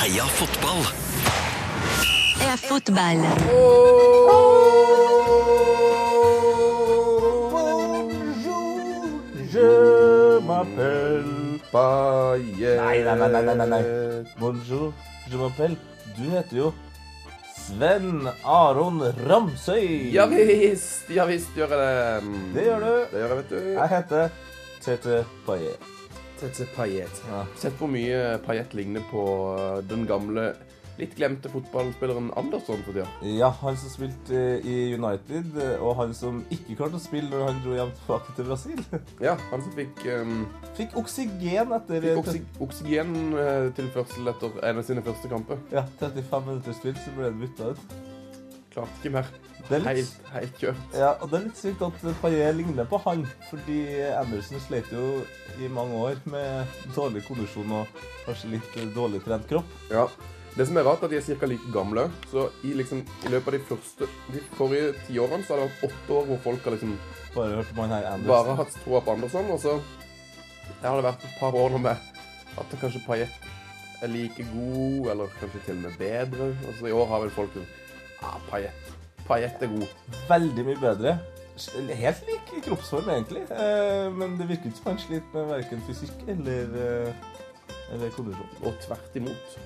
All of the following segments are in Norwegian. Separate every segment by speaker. Speaker 1: Heia fotball
Speaker 2: er fotball.
Speaker 3: Je m'appelle Paillet.
Speaker 4: Nei, nei, nei, nei, nei, nei,
Speaker 3: Bonjour, je m'appelle Du heter jo Sven Aron Ramsøy.
Speaker 4: Ja visst, ja visst gjør jeg det.
Speaker 3: Det gjør du.
Speaker 4: Det gjør jeg, vet du.
Speaker 3: Jeg heter Tete Paillet.
Speaker 4: Tete Payet.
Speaker 3: Ja.
Speaker 4: Sett hvor mye Payet ligner på eh, den gamle, litt glemte fotballspilleren Andersson for tida.
Speaker 3: Ja, han som spilte i United, og han som ikke klarte å spille når han dro hjem tilbake til Brasil.
Speaker 4: Ja, han som fikk, um,
Speaker 3: Fikk oksygen etter
Speaker 4: fikk oksy oksygentilførsel etter en av sine første kamper.
Speaker 3: ja, 35 minutter spill, så ble han bytta ut.
Speaker 4: Klarte ikke mer.
Speaker 3: Det er litt
Speaker 4: Helt, helt kjørt.
Speaker 3: Ja, og det er litt sykt at Paillet ligner på han, fordi Andersen slet jo i mange år med dårlig kondisjon og kanskje litt dårlig trent kropp.
Speaker 4: Ja. Det som er rart, er at de er ca. like gamle. Så i, liksom, i løpet av de første De forrige tiårene så har det vært åtte år hvor folk har liksom
Speaker 3: Bare hørte man her
Speaker 4: bare
Speaker 3: Andersen.
Speaker 4: hatt troa på Andersson, og så der har det vært et par år nå med at det kanskje Payet er like god, eller kanskje til og med bedre. Og så i år har vel folk sånn Ja, Payet. Payet er god.
Speaker 3: Veldig mye bedre. Helt lik i kroppsform, egentlig. Eh, Men det virker ikke som han sliter med verken fysikk eller, eh, eller kondisjon.
Speaker 4: Og tvert imot.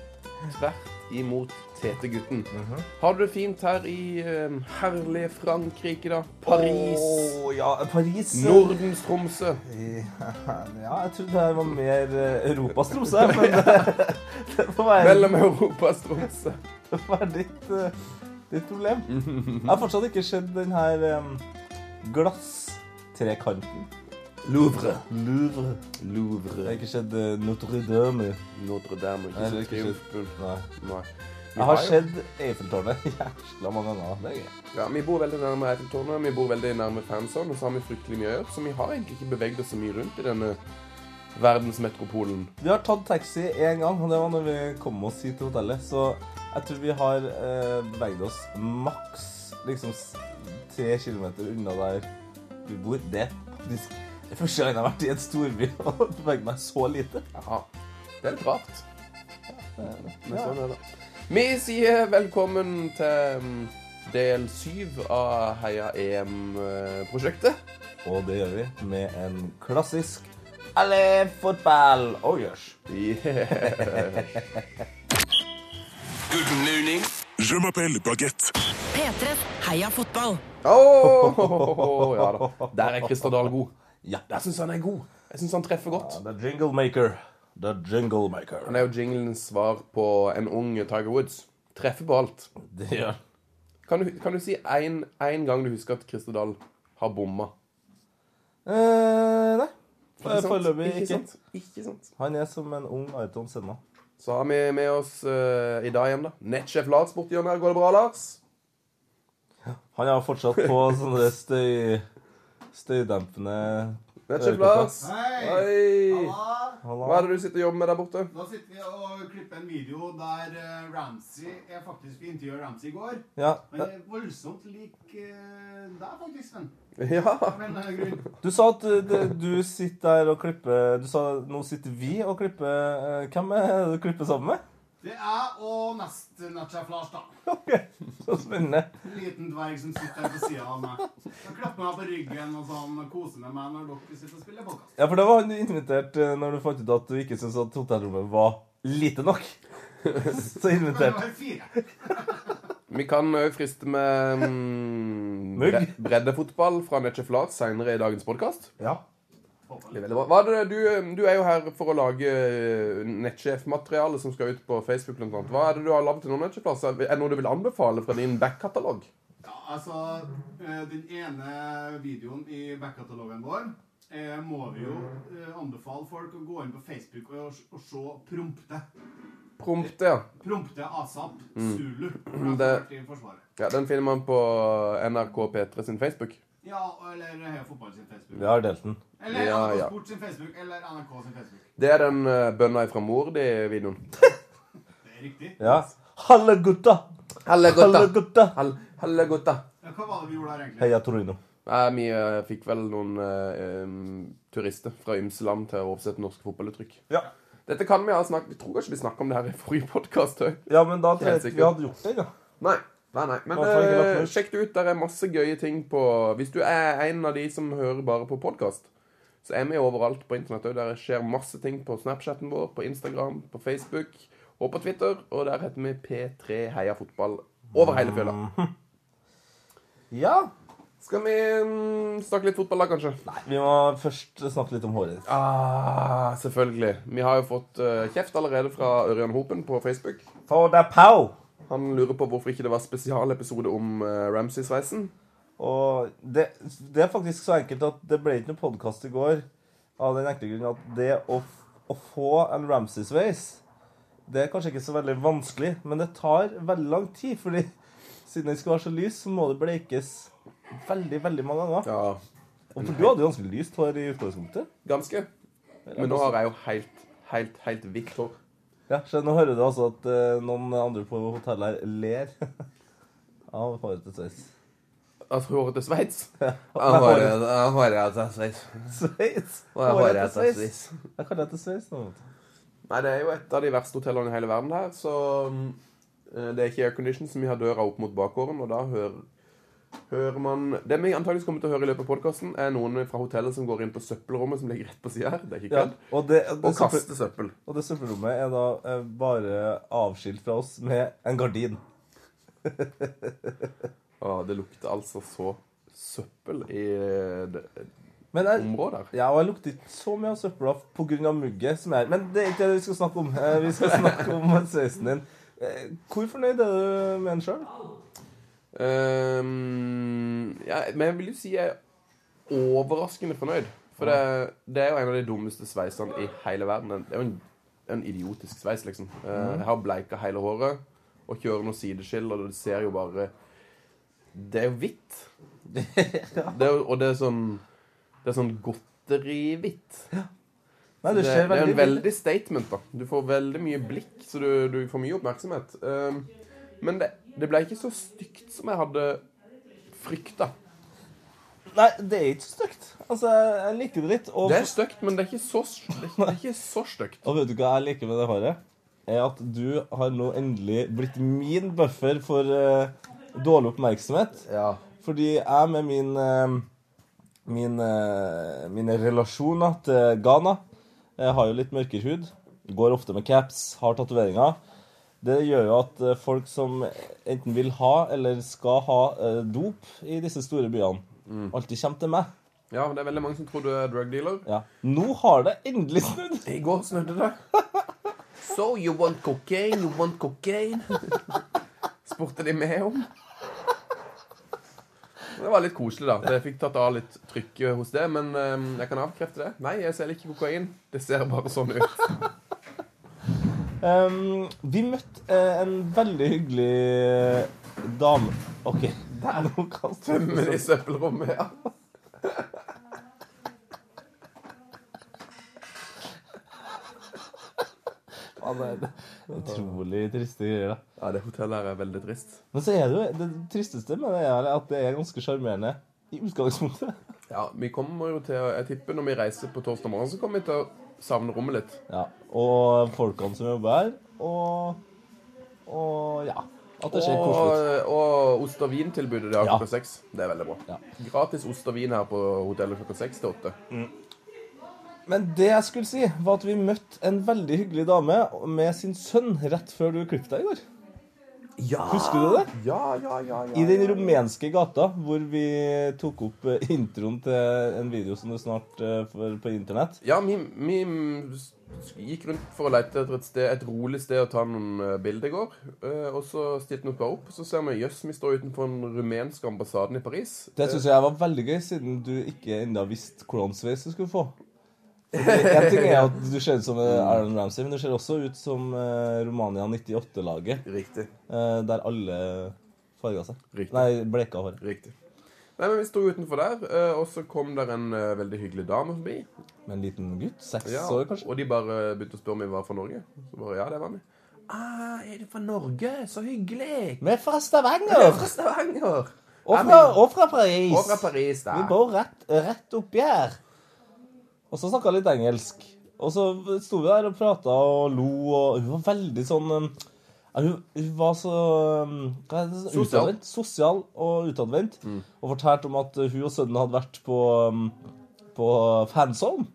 Speaker 4: Tvert imot TT-gutten. Har du det fint her i eh, herlige Frankrike, da? Paris.
Speaker 3: Åh, ja, Paris.
Speaker 4: Nordens Tromsø.
Speaker 3: Ja, jeg trodde det her var mer eh, Europas tromsø, men det, det får være
Speaker 4: Mellom Europas Tromsø.
Speaker 3: Det var ditt, eh, ditt problem. Jeg har fortsatt ikke sett den her um, glasstrekanten.
Speaker 4: Louvre.
Speaker 3: Louvre. Jeg
Speaker 4: Louvre.
Speaker 3: har ikke sett eh, Notre-Dame.
Speaker 4: Notre-Dame. Ikke
Speaker 3: Nei, det er
Speaker 4: så
Speaker 3: ikke
Speaker 4: triumfbult.
Speaker 3: Nei.
Speaker 4: Nei. Vi
Speaker 3: Jeg har
Speaker 4: jo-
Speaker 3: sett Eiffeltårnet jævla mange ganger. Det er gøy.
Speaker 4: Ja, Vi bor veldig nærme Eiffeltårnet, vi bor veldig nærme fansonen, og så har vi fryktelig mye å gjøre, så vi har egentlig ikke beveget oss så mye rundt i denne verdensmetropolen.
Speaker 3: Vi har tatt taxi én gang, og det var når vi kom oss hit til hotellet. Så jeg tror vi har eh, beveget oss maks liksom s- tre kilometer unna der vi bor. Det er faktisk det er første gang jeg har vært i en storby og beveget meg så lite.
Speaker 4: Jaha. Det er litt rart. Men
Speaker 3: Ja.
Speaker 4: sånn er det. Vi sier velkommen til mm, del syv av Heia E EM-prosjektet.
Speaker 3: Og det gjør vi med en klassisk Alle fotball! Oh yes.
Speaker 4: Yeah.
Speaker 1: Good morning
Speaker 5: Je m'appelle Baguette.
Speaker 2: P3 Heia fotball.
Speaker 4: Åh, ja da. Der er Christer Dahl god.
Speaker 3: Ja.
Speaker 4: Der syns han er god. Jeg syns han treffer godt.
Speaker 3: The jingle maker. The jingle maker.
Speaker 4: Han er jo jinglens svar på en ung Tiger Woods. Treffer på alt.
Speaker 3: Det gjør han.
Speaker 4: Kan du, kan du si én gang du husker at Christer Dahl har bomma?
Speaker 3: Eh, nei.
Speaker 4: Ikke sant?
Speaker 3: Foreløpig ikke.
Speaker 4: sant? Ikke sant.
Speaker 3: Han er som en ung Ayrton Senna.
Speaker 4: Så har vi med oss eh, i dag igjen, da. Nettsjef Lars borti hjørnet. her. Går det bra, Lars?
Speaker 3: Han er fortsatt på sånne støy... støydempende
Speaker 4: Nettsjef
Speaker 3: Ørekopper.
Speaker 4: Lars.
Speaker 6: Hei!
Speaker 4: Hei!
Speaker 6: Halla!
Speaker 4: Hva er det du sitter og jobber med der borte?
Speaker 6: Nå sitter vi og klipper en video der eh, Ramsey Jeg faktisk intervjuet Ramsey i går.
Speaker 3: Ja.
Speaker 6: Han er voldsomt lik eh, deg, faktisk, Sven.
Speaker 4: Ja.
Speaker 6: Av en eller annen grunn.
Speaker 3: Du sa at eh, det- du sitter der og klipper Du sa nå sitter vi og klipper eh, Hvem er det du klipper sammen med?
Speaker 6: Det er jeg og nest-natchef Lars, da.
Speaker 3: Så spennende.
Speaker 6: En liten dverg som sitter her på sida av meg. Han klapper meg på ryggen og sånn, og koser med meg når dere sitter og spiller podkast.
Speaker 3: Ja, for det var han du inviterte eh, når du fant ut at du ikke syntes at hotellrommet var lite nok. Så
Speaker 6: Det
Speaker 3: inviterte
Speaker 6: var fire.
Speaker 4: Vi kan òg friste med mm,
Speaker 3: Mugg.
Speaker 4: bre- breddefotball fra Nettsjef Lars seinere i dagens podkast.
Speaker 3: Ja.
Speaker 4: Veldig, veldig bra. Hva er det, du, du er jo her for å lage eh, nettsjefmateriale som skal ut på Facebook. Blant annet. Hva er det du har lagd til noen nettsjefplasser? Er det noe du vil anbefale fra din backkatalog?
Speaker 6: Ja, altså eh, Den ene videoen i backkatalogen vår eh, må vi jo eh, anbefale folk å gå inn på Facebook og, s- og se prompte.
Speaker 4: Prompte, ja.
Speaker 6: Prompte asap Zulu. for
Speaker 4: Mm. Det-
Speaker 6: Det... har vært i Forsvaret.
Speaker 4: ja. Den finner man på uh, NRK P3 sin Facebook.
Speaker 6: Ja, eller Heia Fotball sin Facebook.
Speaker 3: Vi har delt den.
Speaker 6: Eller
Speaker 4: Ja,
Speaker 6: NRK
Speaker 4: ja.
Speaker 6: Sport sin Facebook, eller NRK sin Facebook.
Speaker 4: Det er den eh, bønna ifra mor, de videoen.
Speaker 6: Det er riktig.
Speaker 3: Ja. Halla, gutta!
Speaker 4: Halle
Speaker 3: Halla,
Speaker 4: gutta!
Speaker 3: gutta!
Speaker 4: Hall- Halle gutta!
Speaker 6: Ja, hva var det vi gjorde der, egentlig?
Speaker 3: Heia Torino.
Speaker 4: Nei, vi eh, uh, um, fikk vel noen eh, em, turister fra ymse land til å oversette norske fotballuttrykk.
Speaker 3: Ja.
Speaker 4: Dette kan vi ha snakket Vi tror kanskje vi snakket om det her i forrige podkast òg.
Speaker 3: Ja, men da tror jeg
Speaker 4: Helt
Speaker 3: ikke vi
Speaker 4: sikkert.
Speaker 3: hadde gjort det, da.
Speaker 4: Nei. Nei, nei. Men
Speaker 3: Da får jeg ikke vært
Speaker 4: eh,
Speaker 3: med.
Speaker 4: sjekk det ut. Der er masse gøye ting på Hvis du er en av de som hører bare på podkast, så er vi overalt på internett òg. Der skjer masse ting på Snapchatten vår, på Instagram, på Facebook og på Twitter. Og der heter vi P3 Heia Fotball over hele fjøla.
Speaker 3: Mhm. Ja.
Speaker 4: Skal vi mm, snakke litt fotball da, kanskje? Nei.
Speaker 3: Vi må først snakke litt om håret ditt.
Speaker 4: Ah, selvfølgelig. Vi har jo fått eh, kjeft allerede fra Ørjan Hopen på Facebook.
Speaker 3: Ta deg pow!
Speaker 4: Han lurer på hvorfor ikke det var spesialepisode om uh, Ramsay-sveisen.
Speaker 3: Og det, det er faktisk så enkelt at det ble ikke noen podkast i går av den enkle grunn at det å, f- å få en Ramsay-sveis Det er kanskje ikke så veldig vanskelig, men det tar veldig lang tid. fordi siden den skal være så lys, så må det bleikes veldig, veldig mange ganger.
Speaker 4: Ja,
Speaker 3: Og for du hadde jo ganske lyst hår i utgangspunktet.
Speaker 4: ganske. Men nå har jeg jo helt, helt, helt hvitt hår.
Speaker 3: Ja, så Nå hører du altså at eh, noen andre på hotellet her ler av håret til Sveis.
Speaker 4: At håret til Sveits.
Speaker 3: håret-
Speaker 4: Håret til Sveits.
Speaker 3: Sveits! Jeg kaller det til Sveis nå. vet du.
Speaker 4: Nei, det er jo et av de verste hotellene i hele verden der, så mm, eh, det er ikke aircondition, så vi har døra opp mot bakgården, og da hører, hører man Det vi antakeligvis kommer til å høre i løpet av podkasten, er noen fra hotellet som går inn på søppelrommet som ligger rett på sida her. Det er ikke
Speaker 3: Ja,
Speaker 4: kødd.
Speaker 3: og det, det,
Speaker 4: Og kaster søppel.
Speaker 3: Og det søppelrommet er da eh, bare avskilt fra oss med en gardin.
Speaker 4: Å, det lukter altså så søppel i eh, det
Speaker 3: Men jeg,
Speaker 4: området her.
Speaker 3: ja, og jeg lukter ikke så mye av søpla pga. mugget som er her. Men det er ikke det vi skal snakke om. Eh, Vi skal snakke om sveisen din. Eh, Hvor fornøyd er du med den sjøl?
Speaker 4: Ehm, ja, men jeg vil jo si jeg er overraskende fornøyd. For det, det er jo en av de dummeste sveisene i hele verden. Den- Det er jo en, en idiotisk sveis, liksom. Eh, Jeg har bleika hele håret og kjører noe sideskill, og det ser jo bare Det er jo hvitt. Det er, jo- og det er sånn Det er sånn godterihvitt.
Speaker 3: Nei,
Speaker 4: Det,
Speaker 3: du
Speaker 4: det
Speaker 3: ser
Speaker 4: er en
Speaker 3: veldig
Speaker 4: veldig statement, da. Du får veldig mye blikk, så du, du får mye oppmerksomhet. Ehm, men det, det ble ikke så stygt som jeg hadde frykta.
Speaker 3: Nei, det er ikke så stygt. Altså, jeg liker det litt. Og,
Speaker 4: Det er stygt, men det er ikke så, s- det er ikke- det er ikke så stygt.
Speaker 3: og vet du hva jeg liker med det håret? Er at du har nå endelig blitt min buffer for eh, dårlig oppmerksomhet. Fordi jeg med min, eh, min eh, mine relasjoner til Ghana Jeg har jo litt mørkere hud, går ofte med caps, har tatoveringer. Det gjør jo at eh, folk som enten vil ha eller skal ha eh, dop i disse store byene,
Speaker 4: Mm.
Speaker 3: alltid kommer til meg.
Speaker 4: Ja, det er veldig mange som tror du er drug dealer.
Speaker 3: Ja. Nå har det endelig snudd!
Speaker 4: I går snødde det. So you want cocaine, you want cocaine? Spurte de meg om. Det var litt koselig, da. Jeg fikk tatt av litt trykk hos det. Men eh, jeg kan avkrefte det. Nei, jeg selger ikke kokain. Det ser bare sånn ut.
Speaker 3: Ehm, vi møtte eh, en veldig hyggelig dame OK, der nå kaster jeg
Speaker 4: Men i søppelrommet, ja.
Speaker 3: Ja, det er- det er Utrolig triste greier, da.
Speaker 4: Ja, det hotellet her er veldig trist.
Speaker 3: Men så er det jo det tristeste med det er at det er ganske sjarmerende i utgangspunktet.
Speaker 4: Ja, vi kommer jo til å Jeg tipper når vi reiser på torsdag morgen, så kommer vi til å savne rommet litt.
Speaker 3: Ja, Og folkene som jobber her, og Og ja. At det ser koselig ut.
Speaker 4: Og, og ost- og vintilbudet de har
Speaker 3: Ja.
Speaker 4: klokka seks. Det er veldig bra.
Speaker 3: Ja.
Speaker 4: Gratis ost og vin her på hotellet klokka seks til åtte.
Speaker 3: Men det jeg skulle si, var at vi møtte en veldig hyggelig dame med sin sønn rett før du klippet deg i går.
Speaker 4: Ja.
Speaker 3: Husker du det?
Speaker 4: Ja, ja, ja, ja.
Speaker 3: I den rumenske gata hvor vi tok opp eh, introen til en video som du snart eh, får på internett.
Speaker 4: Ja, vi, vi s- gikk rundt for å lete etter et, sted, et rolig sted å ta noen eh, bilder i går. Eh, Og så stilte noen opp, så ser vi jøss, vi står utenfor den rumenske ambassaden i Paris.
Speaker 3: Det syns jeg var veldig gøy, siden du ikke ennå visste hvordan sveis du skulle få. Én ting er at du ser ut som eh,
Speaker 4: Mm.
Speaker 3: Aaron Ramsay, men du ser også ut som eh, Romania 98-laget,
Speaker 4: Riktig.
Speaker 3: eh, der alle farga seg.
Speaker 4: Riktig.
Speaker 3: Nei, bleika håret.
Speaker 4: Riktig. Nei, men Vi sto utenfor der, eh, og så kom der en eh, veldig hyggelig dame forbi.
Speaker 3: Med en liten gutt. Seks
Speaker 4: Ja,
Speaker 3: år, kanskje.
Speaker 4: og de bare begynte å spørre om vi var fra Norge. Så bare, ja, det var vi. Ah, er du fra Norge? Så hyggelig!
Speaker 3: Vi er fra
Speaker 4: Du er
Speaker 3: Stavanger!
Speaker 4: fra Stavanger!
Speaker 3: Og
Speaker 4: Ja,
Speaker 3: fra,
Speaker 4: men-
Speaker 3: og fra Paris.
Speaker 4: og fra Paris, da.
Speaker 3: Vi bor rett, rett oppi her. Og så snakka litt engelsk. Og så sto vi der og prata og lo, og hun var veldig sånn um, ja, hun, hun var så um, hva er det, sånn
Speaker 4: Sosial. Mm.
Speaker 3: utadvendt. Sosial og utadvendt. Og fortalte om at hun og sønnen hadde vært på, um, på fanzone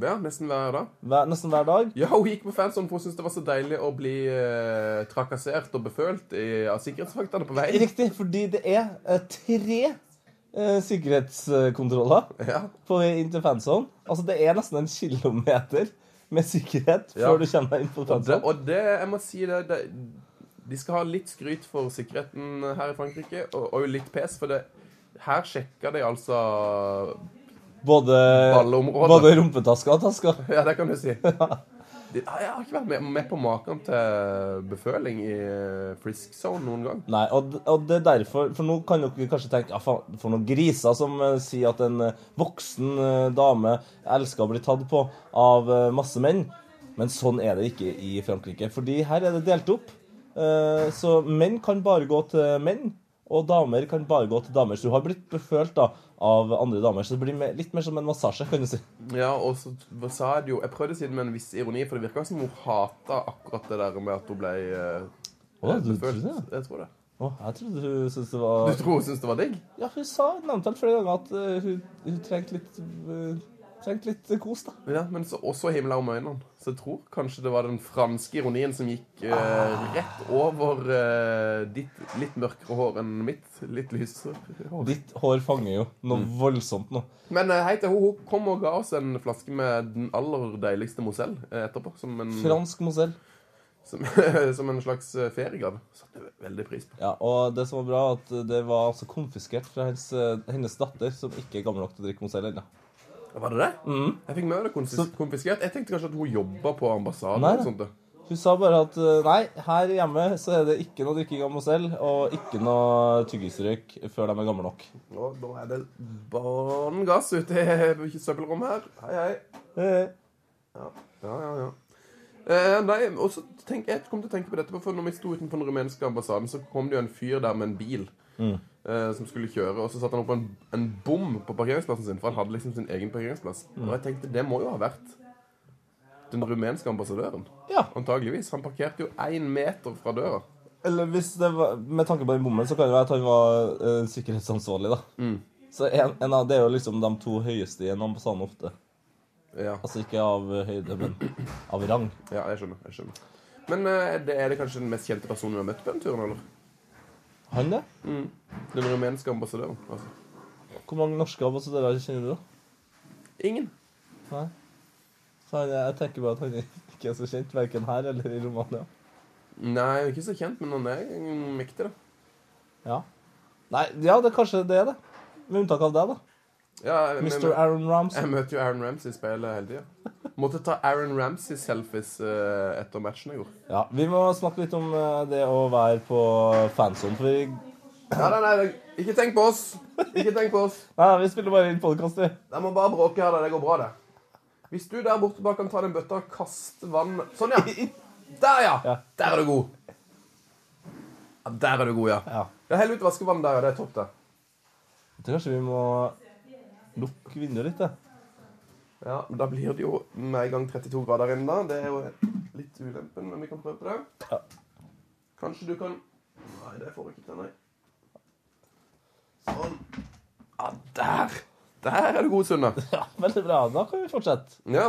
Speaker 4: Det er nesten hver dag.
Speaker 3: hver, nesten hver dag.
Speaker 4: Ja, hun gikk på fanzone, for hun syntes det var så deilig å bli eh, trakassert og befølt i, av sikkerhetsvaktene på veien.
Speaker 3: Riktig, fordi det er eh, tre eh, sikkerhetskontroller
Speaker 4: Ja.
Speaker 3: på vei inn til fanzone. Altså, det er nesten en kilometer med sikkerhet
Speaker 4: Ja.
Speaker 3: før du kommer deg inn på
Speaker 4: Det,
Speaker 3: fanzone.
Speaker 4: og det, jeg må si det, det De skal ha litt skryt for sikkerheten her i Frankrike, og, og litt pes, for det her sjekka de altså
Speaker 3: Både,
Speaker 4: alle områder.
Speaker 3: både rumpetasker og tasker.
Speaker 4: Ja, det kan du si. De, ah, jeg har ikke vært med, med på maken til beføling i eh, Frisk Zone noen gang.
Speaker 3: Nei, og, d- og det er derfor For nå kan dere kanskje tenke ja, faen, for noen griser som eh, sier at en eh, voksen eh, dame elsker å bli tatt på av eh, masse menn. Men sånn er det ikke i Frankrike. Fordi her er det delt opp. Eh, så menn kan bare gå til menn, og damer kan bare gå til damer. Så du har blitt befølt da av andre damer. Så det blir mer, litt mer som en massasje, kan du si.
Speaker 4: Ja, og så hva sa de jo Jeg prøvde å si det med en viss ironi, for det virka som hun hata akkurat det der med at hun ble eh,
Speaker 3: Å, du tror
Speaker 4: befølt.
Speaker 3: det? ja?
Speaker 4: Jeg tror det.
Speaker 3: Å, jeg trodde hun syntes det
Speaker 4: Du
Speaker 3: var
Speaker 4: tror hun syntes det var digg?
Speaker 3: Ja, hun sa nevnte vel flere ganger at eh, hun, hun trengte litt eh, Trengte litt kos, da.
Speaker 4: Ja, men så også himla om øynene. Så jeg tror kanskje det var den franske ironien som gikk eh,
Speaker 3: Ah.
Speaker 4: rett over eh, ditt litt mørkere hår enn mitt. Litt lysere hår.
Speaker 3: Ditt hår fanger jo noe voldsomt nå.
Speaker 4: Men eh, hei til hun, hun kom og ga oss en flaske med den aller deiligste Moselle eh, etterpå. Som en,
Speaker 3: Fransk Moselle.
Speaker 4: som, som en slags eh, feriegave. Satte jeg veldig pris på.
Speaker 3: Ja, og det som var bra, at det var altså konfiskert fra hennes, hennes datter, som ikke er gammel nok til å drikke Moselle ennå.
Speaker 4: Var det det? Jeg fikk med meg det konfis
Speaker 3: Mm. Så-
Speaker 4: konfiskert. Jeg tenkte kanskje at hun jobba på ambassaden.
Speaker 3: Nei,
Speaker 4: eller
Speaker 3: nei.
Speaker 4: sånt. da.
Speaker 3: Hun sa bare at eh, nei, her hjemme så er det ikke noe drikking av Moselle, og ikke noe tyggisrøyk før de er gamle nok.
Speaker 4: Og nå er det bånn gass ute i søppelrommet her. Hei, hei.
Speaker 3: Eh,
Speaker 4: Ja, ja, ja. ja. Eh, nei, og så tenk, Jeg kom til å tenke på dette, for når vi sto utenfor den rumenske ambassaden, så kom det jo en fyr der med en bil eh, som skulle kjøre, og så satte han opp en, en bom på parkeringsplassen sin, for han hadde liksom sin egen parkeringsplass. Og jeg tenkte, det må jo ha vært den rumenske ambassadøren.
Speaker 3: Ja.
Speaker 4: Antageligvis. Han parkerte jo én meter fra døra.
Speaker 3: Eller hvis det var Med tanke på den bommen, så kan det være at han var eh, sikkerhetsansvarlig, da. Så en, en av, det er jo liksom de to høyeste i en ambassade ofte.
Speaker 4: Ja,
Speaker 3: Altså ikke av eh, høyde, men av rang.
Speaker 4: ja jeg skjønner. jeg skjønner. Men eh, det er det kanskje den mest kjente personen vi har møtt på den turen, eller?
Speaker 3: Han, det?
Speaker 4: Den rumenske ambassadøren. altså.
Speaker 3: Hvor mange norske ambassadører kjenner du, da?
Speaker 4: Ingen.
Speaker 3: Nei. Så han, jeg tenker bare at han ikke er så kjent, verken her eller i Romania.
Speaker 4: Nei, ikke så kjent, men han er mm, mektig, da.
Speaker 3: Ja. Nei, ja, det kanskje det er det. Med unntak av deg, da.
Speaker 4: Ja, jeg, jeg-
Speaker 3: Mr. Aaron
Speaker 4: jeg
Speaker 3: Ramsay.
Speaker 4: møter jo Aaron Ramsey i speilet hele tida. Måtte ta Aaron Ramsey-selfies eh, etter matchen jeg gjorde.
Speaker 3: Ja, vi må snakke litt om eh, det å være på fanzone, for vi
Speaker 4: Nei, nei, nei, det- ikke tenk på oss! Ikke tenk på oss.
Speaker 3: Nei, vi spiller bare inn podkast, vi.
Speaker 4: De må bare bråke her, da. det går bra, det. Hvis du der borte bare kan ta den bøtta og kaste vann Sånn, ja. Der, ja!
Speaker 3: Ja.
Speaker 4: Der er du god. Ja, der er du god, ja.
Speaker 3: Ja.
Speaker 4: Ja, Hell ut vaskevann der, ja. Det er topp, det.
Speaker 3: Jeg tror kanskje vi må lukke vinduet litt, jeg.
Speaker 4: Ja, men Da blir det jo med en gang 32 grader inne, da. Det er jo litt ulempen, men vi kan prøve på det.
Speaker 3: Ja.
Speaker 4: Kanskje du kan Nei, det får jeg ikke til, nei. Sånn. Ja, der! Der er du god, Sunne.
Speaker 3: Ja, veldig bra. Da kan vi fortsette.
Speaker 4: Ja.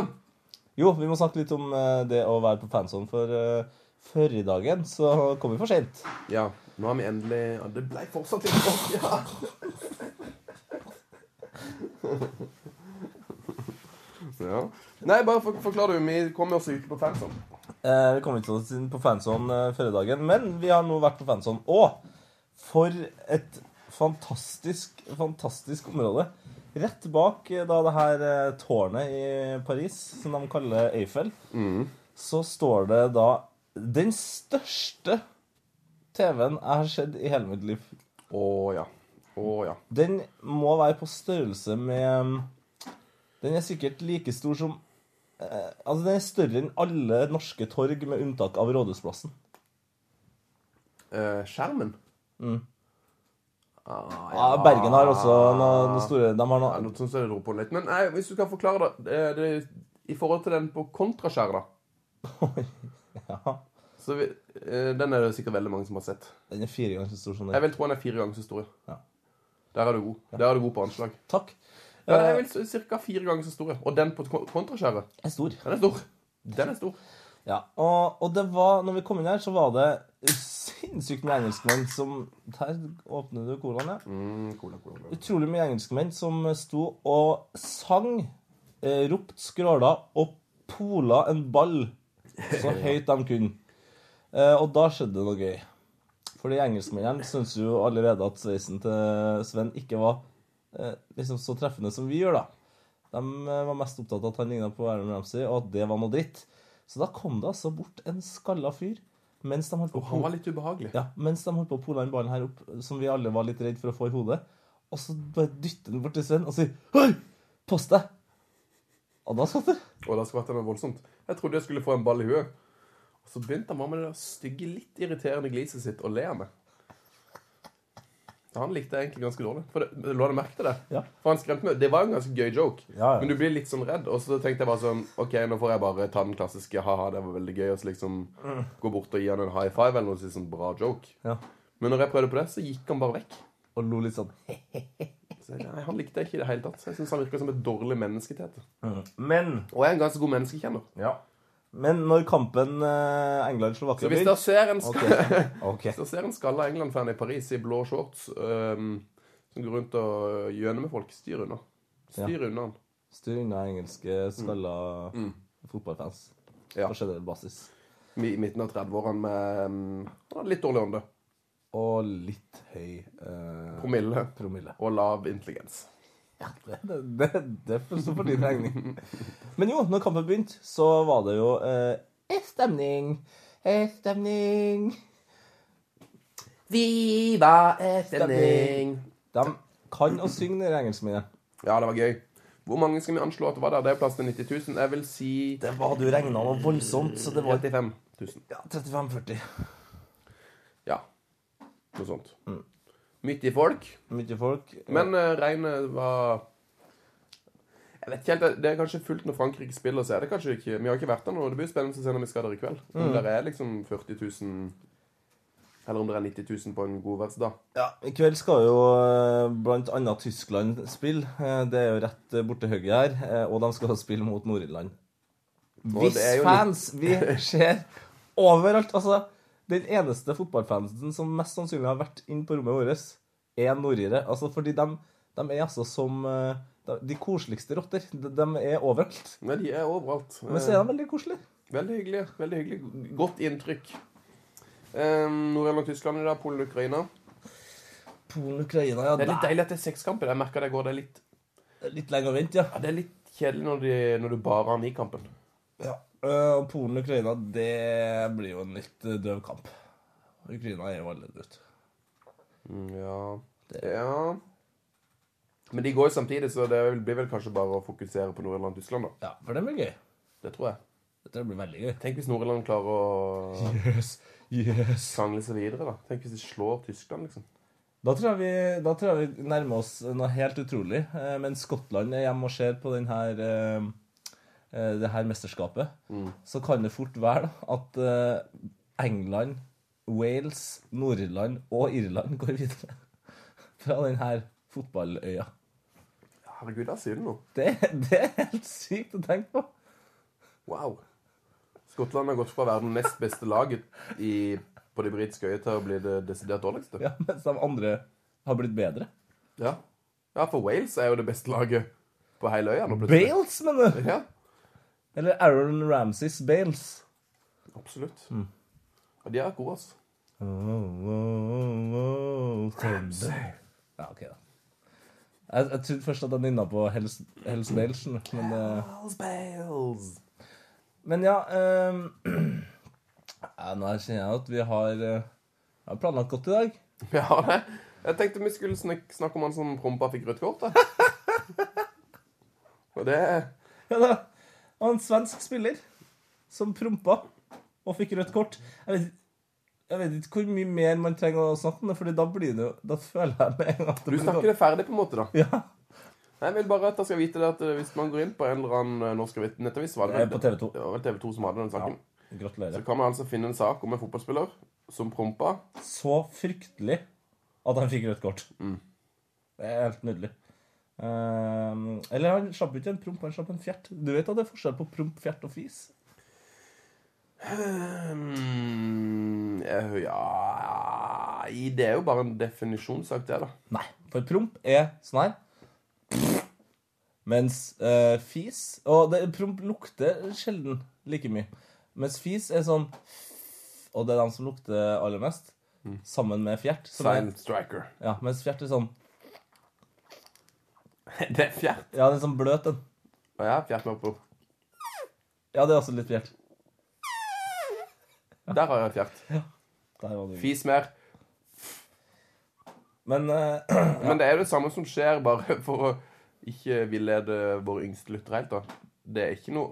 Speaker 3: Jo, vi må snakke litt om eh, det å være på fanzone, for eh, før i dagen så kom vi for sent.
Speaker 4: ja. Nå har vi endelig ja, Det ble fortsatt ikke nok. Ja. ja. Nei, bare for, forklar du. Vi kommer oss ikke på fansom.
Speaker 3: Eh, vi kom ikke oss inn på fanzone eh, forrige dagen, men vi har nå vært på fanzone. Og for et fantastisk, fantastisk område. Rett bak eh, da det her eh, tårnet i Paris, som de kaller Eiffel, så står det da den største TV-en jeg har sett i hele mitt liv.
Speaker 4: Å ja. Å ja.
Speaker 3: Den må være på størrelse med mm, Den er sikkert like stor som eh, Altså, den er større enn alle norske torg, med unntak av Rådhusplassen.
Speaker 4: Eh, skjermen? Ah, ja.
Speaker 3: Ja, Bergen har også noen noe store De har
Speaker 4: Ja,
Speaker 3: noe
Speaker 4: eh, noe sånt som det roper litt. Men nei, hvis du kan forklare det, det, det i forhold til den på kontraskjæret, da.
Speaker 3: Ja.
Speaker 4: Så vi, eh, den er det sikkert veldig mange som har sett.
Speaker 3: Den er fire ganger så stor som
Speaker 4: Jeg
Speaker 3: den.
Speaker 4: vil tro den er fire ganger så stor.
Speaker 3: Ja.
Speaker 4: Der er du god. Der er du god på anslag.
Speaker 3: Takk.
Speaker 4: Ja, jeg vil s- cirka fire ganger så stor. ja. Og den på kon- kontraskjæret,
Speaker 3: Den er stor.
Speaker 4: den er stor. Den er stor.
Speaker 3: Ja. Og, og det var, når vi kom inn her, så var det sinnssykt med engelskmenn som Der åpner du colaen, ja. Utrolig mye engelskmenn som sto og sang, eh, ropte, skråla og pola en ball så høyt de kunne. Eh, og da skjedde det noe gøy. Fordi engelskmennene syns jo allerede at sveisen til Sven ikke var eh, liksom så treffende som vi gjør, da. De eh, var mest opptatt av at han ligna på Aaron Ramsey, og at det var noe dritt. Så da kom det altså bort en skalla fyr mens de holdt på å
Speaker 4: Han var litt ubehagelig.
Speaker 3: ja, mens de holdt på å pole den ballen her opp, som vi alle var litt redd for å få i hodet. Og så bare dytter den bort til Sven og sier Hei! Pass deg! Og da skvatter
Speaker 4: Og da skvatt han voldsomt. Jeg trodde jeg skulle få en ball i huet. Og så begynte han bare med det der stygge, litt irriterende gliset sitt og le av meg. Så han likte jeg egentlig ganske dårlig. For det, La du merke til det?
Speaker 3: Ja.
Speaker 4: For han skremte meg. Det var en ganske gøy joke,
Speaker 3: Ja, ja.
Speaker 4: men du blir litt sånn redd. Og så tenkte jeg bare sånn OK, nå får jeg bare ta den klassiske ha-ha, det var veldig gøy, og så liksom gå bort og gi han en high five eller noe sånt. Sånn bra joke.
Speaker 3: Ja.
Speaker 4: Men når jeg prøvde på det, så gikk han bare vekk.
Speaker 3: Og lo litt sånn.
Speaker 4: Så jeg, nei, Han likte jeg ikke i det hele tatt. Så Jeg synes han virker som et dårlig menneske, Tete.
Speaker 3: Men
Speaker 4: Og jeg er en ganske god menneskekjenner.
Speaker 3: ja. Men når kampen eh, England-Slovakia
Speaker 4: Så hvis dere ser en skal...
Speaker 3: Ok.
Speaker 4: Hvis jeg ser en skalla England-fan i Paris i blå shorts øhm, som går rundt og eh, gjøner med folk, styr unna. Styr unna han.
Speaker 3: Styr unna engelske skalla fotballfans.
Speaker 4: Mm. Ja.
Speaker 3: På generell basis.
Speaker 4: I midten av 30-årene med øhm, han hadde litt dårlig ånde.
Speaker 3: Og litt høy eh,
Speaker 4: Promille
Speaker 3: promille.
Speaker 4: og lav intelligens.
Speaker 3: Det, det, det får stå for din regning. Men jo, når kampen begynte, så var det jo eh, «Eh, stemning. Eh, stemning.
Speaker 4: Viva
Speaker 3: stemning. De kan å synge, de engelskmennene.
Speaker 4: Ja, det var gøy. Hvor mange skal vi anslå at det var der? Det er plass til 90 000. Jeg vil si
Speaker 3: Det var du regna noe voldsomt, så det var
Speaker 4: 35 000.
Speaker 3: ja, 35-40.
Speaker 4: Ja. Noe sånt.
Speaker 3: Mm.
Speaker 4: Midt i folk.
Speaker 3: Mye folk.
Speaker 4: Men uh, regnet var Jeg vet ikke helt, det- Det er kanskje fullt når Frankrike spiller, så er det kanskje ikke Vi har ikke vært der nå. og Det blir spennende å se når vi skal der i kveld. Om det er liksom 40 000 Eller om det er 90 000 på en godværsdag.
Speaker 3: ja, I kveld skal jo eh, blant annet Tyskland spille. Eh, Det er jo rett eh, borte høyre her. eh, Og de skal spille mot Nord-Irland.
Speaker 4: Og
Speaker 3: Hvis
Speaker 4: det er jo litt-
Speaker 3: fans vi ser overalt Altså, den eneste fotballfansen som mest sannsynlig har vært inn på rommet vårt, er nordire. Altså, fordi de, er altså som eh, de- De koseligste rotter. De, de er overalt.
Speaker 4: Nei, de er overalt. Eh,
Speaker 3: Men så er de veldig koselige.
Speaker 4: Veldig hyggelig. veldig hyggelig Godt inntrykk. Um, Nord-Irland Tyskland i dag, Polen Ukraina.
Speaker 3: Polen og Ukraina, ja.
Speaker 4: Det er litt
Speaker 3: der.
Speaker 4: deilig at det er sekskamper. Jeg merker det går det er litt,
Speaker 3: litt lenger å vente,
Speaker 4: ja, det er litt kjedelig når, de, når du bare har ni-kampen.
Speaker 3: ja. Eh, og Polen og Ukraina, det blir jo en litt eh, døv kamp. Ukraina er jo allerede ute.
Speaker 4: Mm, Ja. ja Men de går jo samtidig, så det blir vel kanskje bare å fokusere på Nord-Irland og Tyskland, da.
Speaker 3: Ja, for det blir gøy.
Speaker 4: Det tror jeg.
Speaker 3: Dette blir veldig gøy.
Speaker 4: Tenk hvis Nord-Irland klarer å
Speaker 3: Yes, yes.
Speaker 4: krangle seg videre, da. Tenk hvis de slår Tyskland, liksom.
Speaker 3: Da tror, jeg vi, da tror jeg vi nærmer oss noe helt utrolig. Eh, Men Skottland er hjemme og ser på den her, eh, eh, det her mesterskapet. Så kan det fort være da, at eh, England, Wales, Nord-Irland og Irland går videre fra den her fotballøya.
Speaker 4: Herregud, der sier du noe.
Speaker 3: Det, det er helt sykt å tenke på.
Speaker 4: Wow. Skottland har gått fra å være den nest beste laget i, på de britiske øyene til å bli det desidert dårligste.
Speaker 3: Ja, mens de andre har blitt bedre.
Speaker 4: Ja. ja, for Wales er jo det beste laget på hele øya nå, plutselig.
Speaker 3: Bales, mener du?
Speaker 4: Ja,
Speaker 3: Eller Aaron Ramsays Bales.
Speaker 4: absolutt. Og de er gode, altså.
Speaker 3: Oh, oh, oh, thunder. Ja, ok da. Jeg, jeg trodde først at jeg nynna på Hells, Hells Belsen, men, eh,
Speaker 4: Bales, Bales.
Speaker 3: men ja, ehm, ja Nå kjenner jeg at vi har, eh, har planlagt godt i dag.
Speaker 4: Ja, det. Jeg tenkte vi skulle snak snakke om han som prompa fikk rødt kort. da. Og det
Speaker 3: Ja da, Og en svensk spiller som prompa og fikk rødt kort. Jeg vet, jeg vet ikke hvor mye mer man trenger å snakke om det, Fordi da blir det jo Da føler jeg med en gang at det
Speaker 4: Du
Speaker 3: blir
Speaker 4: snakker det ferdig, på en måte, da.
Speaker 3: Ja.
Speaker 4: Jeg vil bare at dere skal vite det at eh, hvis man går inn på en eller annen eh, norsk avis- nettavis var det,
Speaker 3: Eh, på TV 2.
Speaker 4: det var vel TV 2 som hadde den saken. Så
Speaker 3: Gratulerer.
Speaker 4: kan man altså finne en sak om en fotballspiller som prompa.
Speaker 3: Så fryktelig at han fikk rødt kort.
Speaker 4: Mm.
Speaker 3: Det er helt nydelig. Ehm, eller han slapp jo ikke en promp, han slapp en fjert. Du vet at det er forskjell på promp, fjert og fis?
Speaker 4: Hmm, eh, ja i- Det er jo bare en definisjonssak, det, da.
Speaker 3: Nei. For promp er sånn her. Mens eh, fis Og det, promp lukter sjelden like mye. Mens fis er sånn Og det er den som lukter aller mest. Sammen med fjert. Som er,
Speaker 4: Silent striker.
Speaker 3: ja, mens fjert er sånn
Speaker 4: Det er fjert.
Speaker 3: Ja, den er sånn bløt, den.
Speaker 4: Ja, fjert med opprop.
Speaker 3: Ja, det er også litt fjert.
Speaker 4: Der har jeg fjert.
Speaker 3: Der var det.
Speaker 4: Fis mer.
Speaker 3: Men eh,
Speaker 4: Men det er jo det samme som skjer, bare for å ikke villede våre yngste lyttere helt. da. Det er ikke noe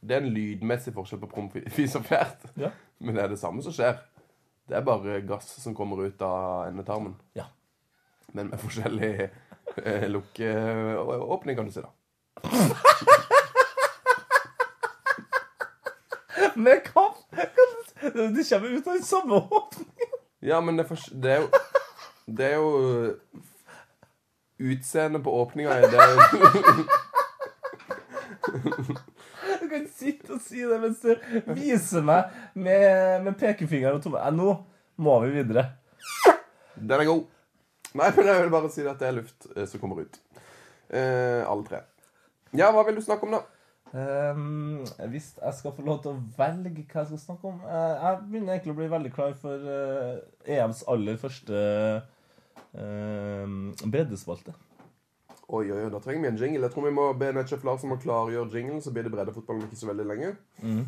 Speaker 4: Det er en lydmessig forskjell på promp, fis og fjert.
Speaker 3: Ja.
Speaker 4: Men det er det samme som skjer. Det er bare gass som kommer ut av endetarmen.
Speaker 3: Ja.
Speaker 4: Men med forskjellig eh, lukkeåpning, kan du si, da.
Speaker 3: Men hva hva- Du kommer ut av den samme åpningen!
Speaker 4: Ja, men det er, fors- det er jo Det er jo Utseendet på åpninga er det
Speaker 3: Du kan sitte og si det mens du viser meg med, med pekefingeren og tommelen. Nei, Nå må vi videre.
Speaker 4: Den er god. Nei, men jeg vil bare si at det er luft eh, som kommer ut. Eh, alle tre. Ja, hva vil du snakke om, da?
Speaker 3: Ehm, hvis jeg skal få lov til å velge hva jeg skal snakke om eh, Jeg begynner egentlig å bli veldig klar for eh, EMs aller første ehm, breddespalte.
Speaker 4: Oi, oi, oi, da trenger vi en jingle. Jeg tror vi må be Netchef Larsen om å klargjøre jinglen, så blir det breddefotballen ikke så veldig lenge.
Speaker 3: Mm.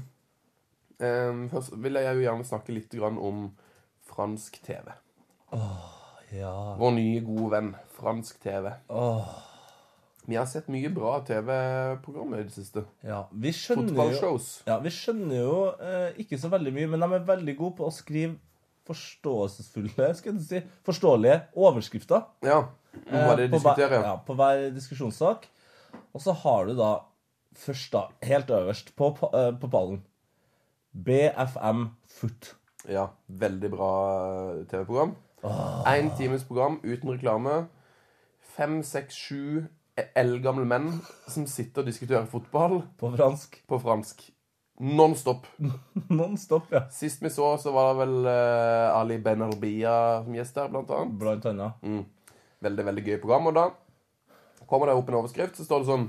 Speaker 4: Eh, først vil jeg jo gjerne snakke litt grann om fransk TV.
Speaker 3: Ja.
Speaker 4: Vår nye gode venn, fransk TV. Vi har sett mye bra TV-programmer i det siste.
Speaker 3: ja. Vi skjønner jo,
Speaker 4: Fotballshows.
Speaker 3: ja, vi skjønner jo eh, ikke så veldig mye, men de er veldig gode på å skrive forståelsesfulle, skal jeg si, forståelige overskrifter.
Speaker 4: Ja. Nå
Speaker 3: Eh,
Speaker 4: var det de
Speaker 3: på hver-
Speaker 4: diskuterer.
Speaker 3: ja, på hver diskusjonssak. Og så har du da først, da, helt øverst på, pa- eh, på pallen BFM Foot.
Speaker 4: Ja, veldig bra eh, TV-program. Én times program uten reklame. Fem, seks, sju e- eldgamle menn som sitter og diskuterer fotball
Speaker 3: På fransk.
Speaker 4: på fransk. Nonstop.
Speaker 3: Nonstop, ja.
Speaker 4: Sist vi så, så var det vel eh, Ali Ben Arbia som gjest der, blant annet.
Speaker 3: Blant annet.
Speaker 4: Mm, Veldig, veldig gøy program. Og da kommer det opp en overskrift, så står det sånn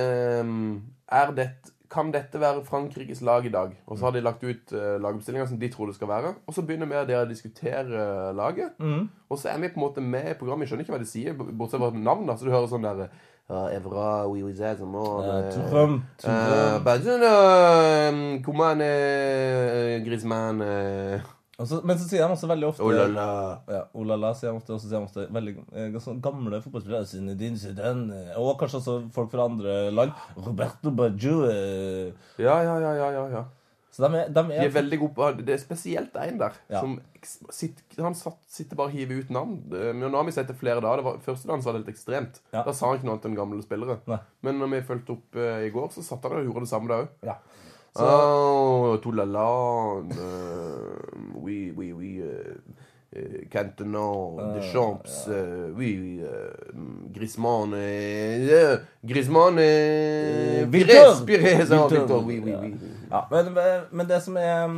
Speaker 4: ehm, er dette, Kan dette være Frankrikes lag i dag? Og så har de lagt ut uh, lagoppstillinga som de tror det skal være. Og så begynner vi og dere å diskutere eh, laget.
Speaker 3: Mm.
Speaker 4: Og så er vi på en måte med i programmet. Jeg skjønner ikke hva de sier, b- bortsett fra navn. da, Så du hører sånn der ja, Evra, oui, oui, c'est som må,
Speaker 3: Eh,
Speaker 4: eh,
Speaker 3: Trump,
Speaker 4: eh,
Speaker 3: Trump.
Speaker 4: Bazin, eh, Coman, eh, Griezmann eh,
Speaker 3: Og så- men så sier de også veldig ofte
Speaker 4: oh la la.
Speaker 3: Ja, oh la la, sier de ofte. Og så sier de ofte veldig eh, sånn gamle fotballspillere. Zinedine Zidane, eh, Og kanskje også folk fra andre land. Roberto Baggio. eh.
Speaker 4: Ja, ja, ja, ja, ja, ja.
Speaker 3: Så de er, de er,
Speaker 4: De er veldig gode på ah, Det er spesielt en der.
Speaker 3: Ja.
Speaker 4: Som eks- sitt, han satt, sitter bare og hiver ut navn. Eh, Men nå har vi sett det flere dager. Det var, første dagen så var det helt ekstremt.
Speaker 3: Ja.
Speaker 4: Da sa han ikke noe annet enn gamle spillere.
Speaker 3: Nei.
Speaker 4: Men når vi fulgte opp eh, i går, så satt han og gjorde det samme da òg.
Speaker 3: ja.
Speaker 4: Oh, Toulala eh, Oui, oui, oui eh, eh, Cantenot, Deschamps eh, Oui, eh, Griezmann eh, eh, Griezmann eh, Pires,
Speaker 3: Victor!
Speaker 4: Pires, ja,
Speaker 3: Victor,
Speaker 4: Victor, oui, oui,
Speaker 3: ja.
Speaker 4: oui.
Speaker 3: Ja, men, men det som er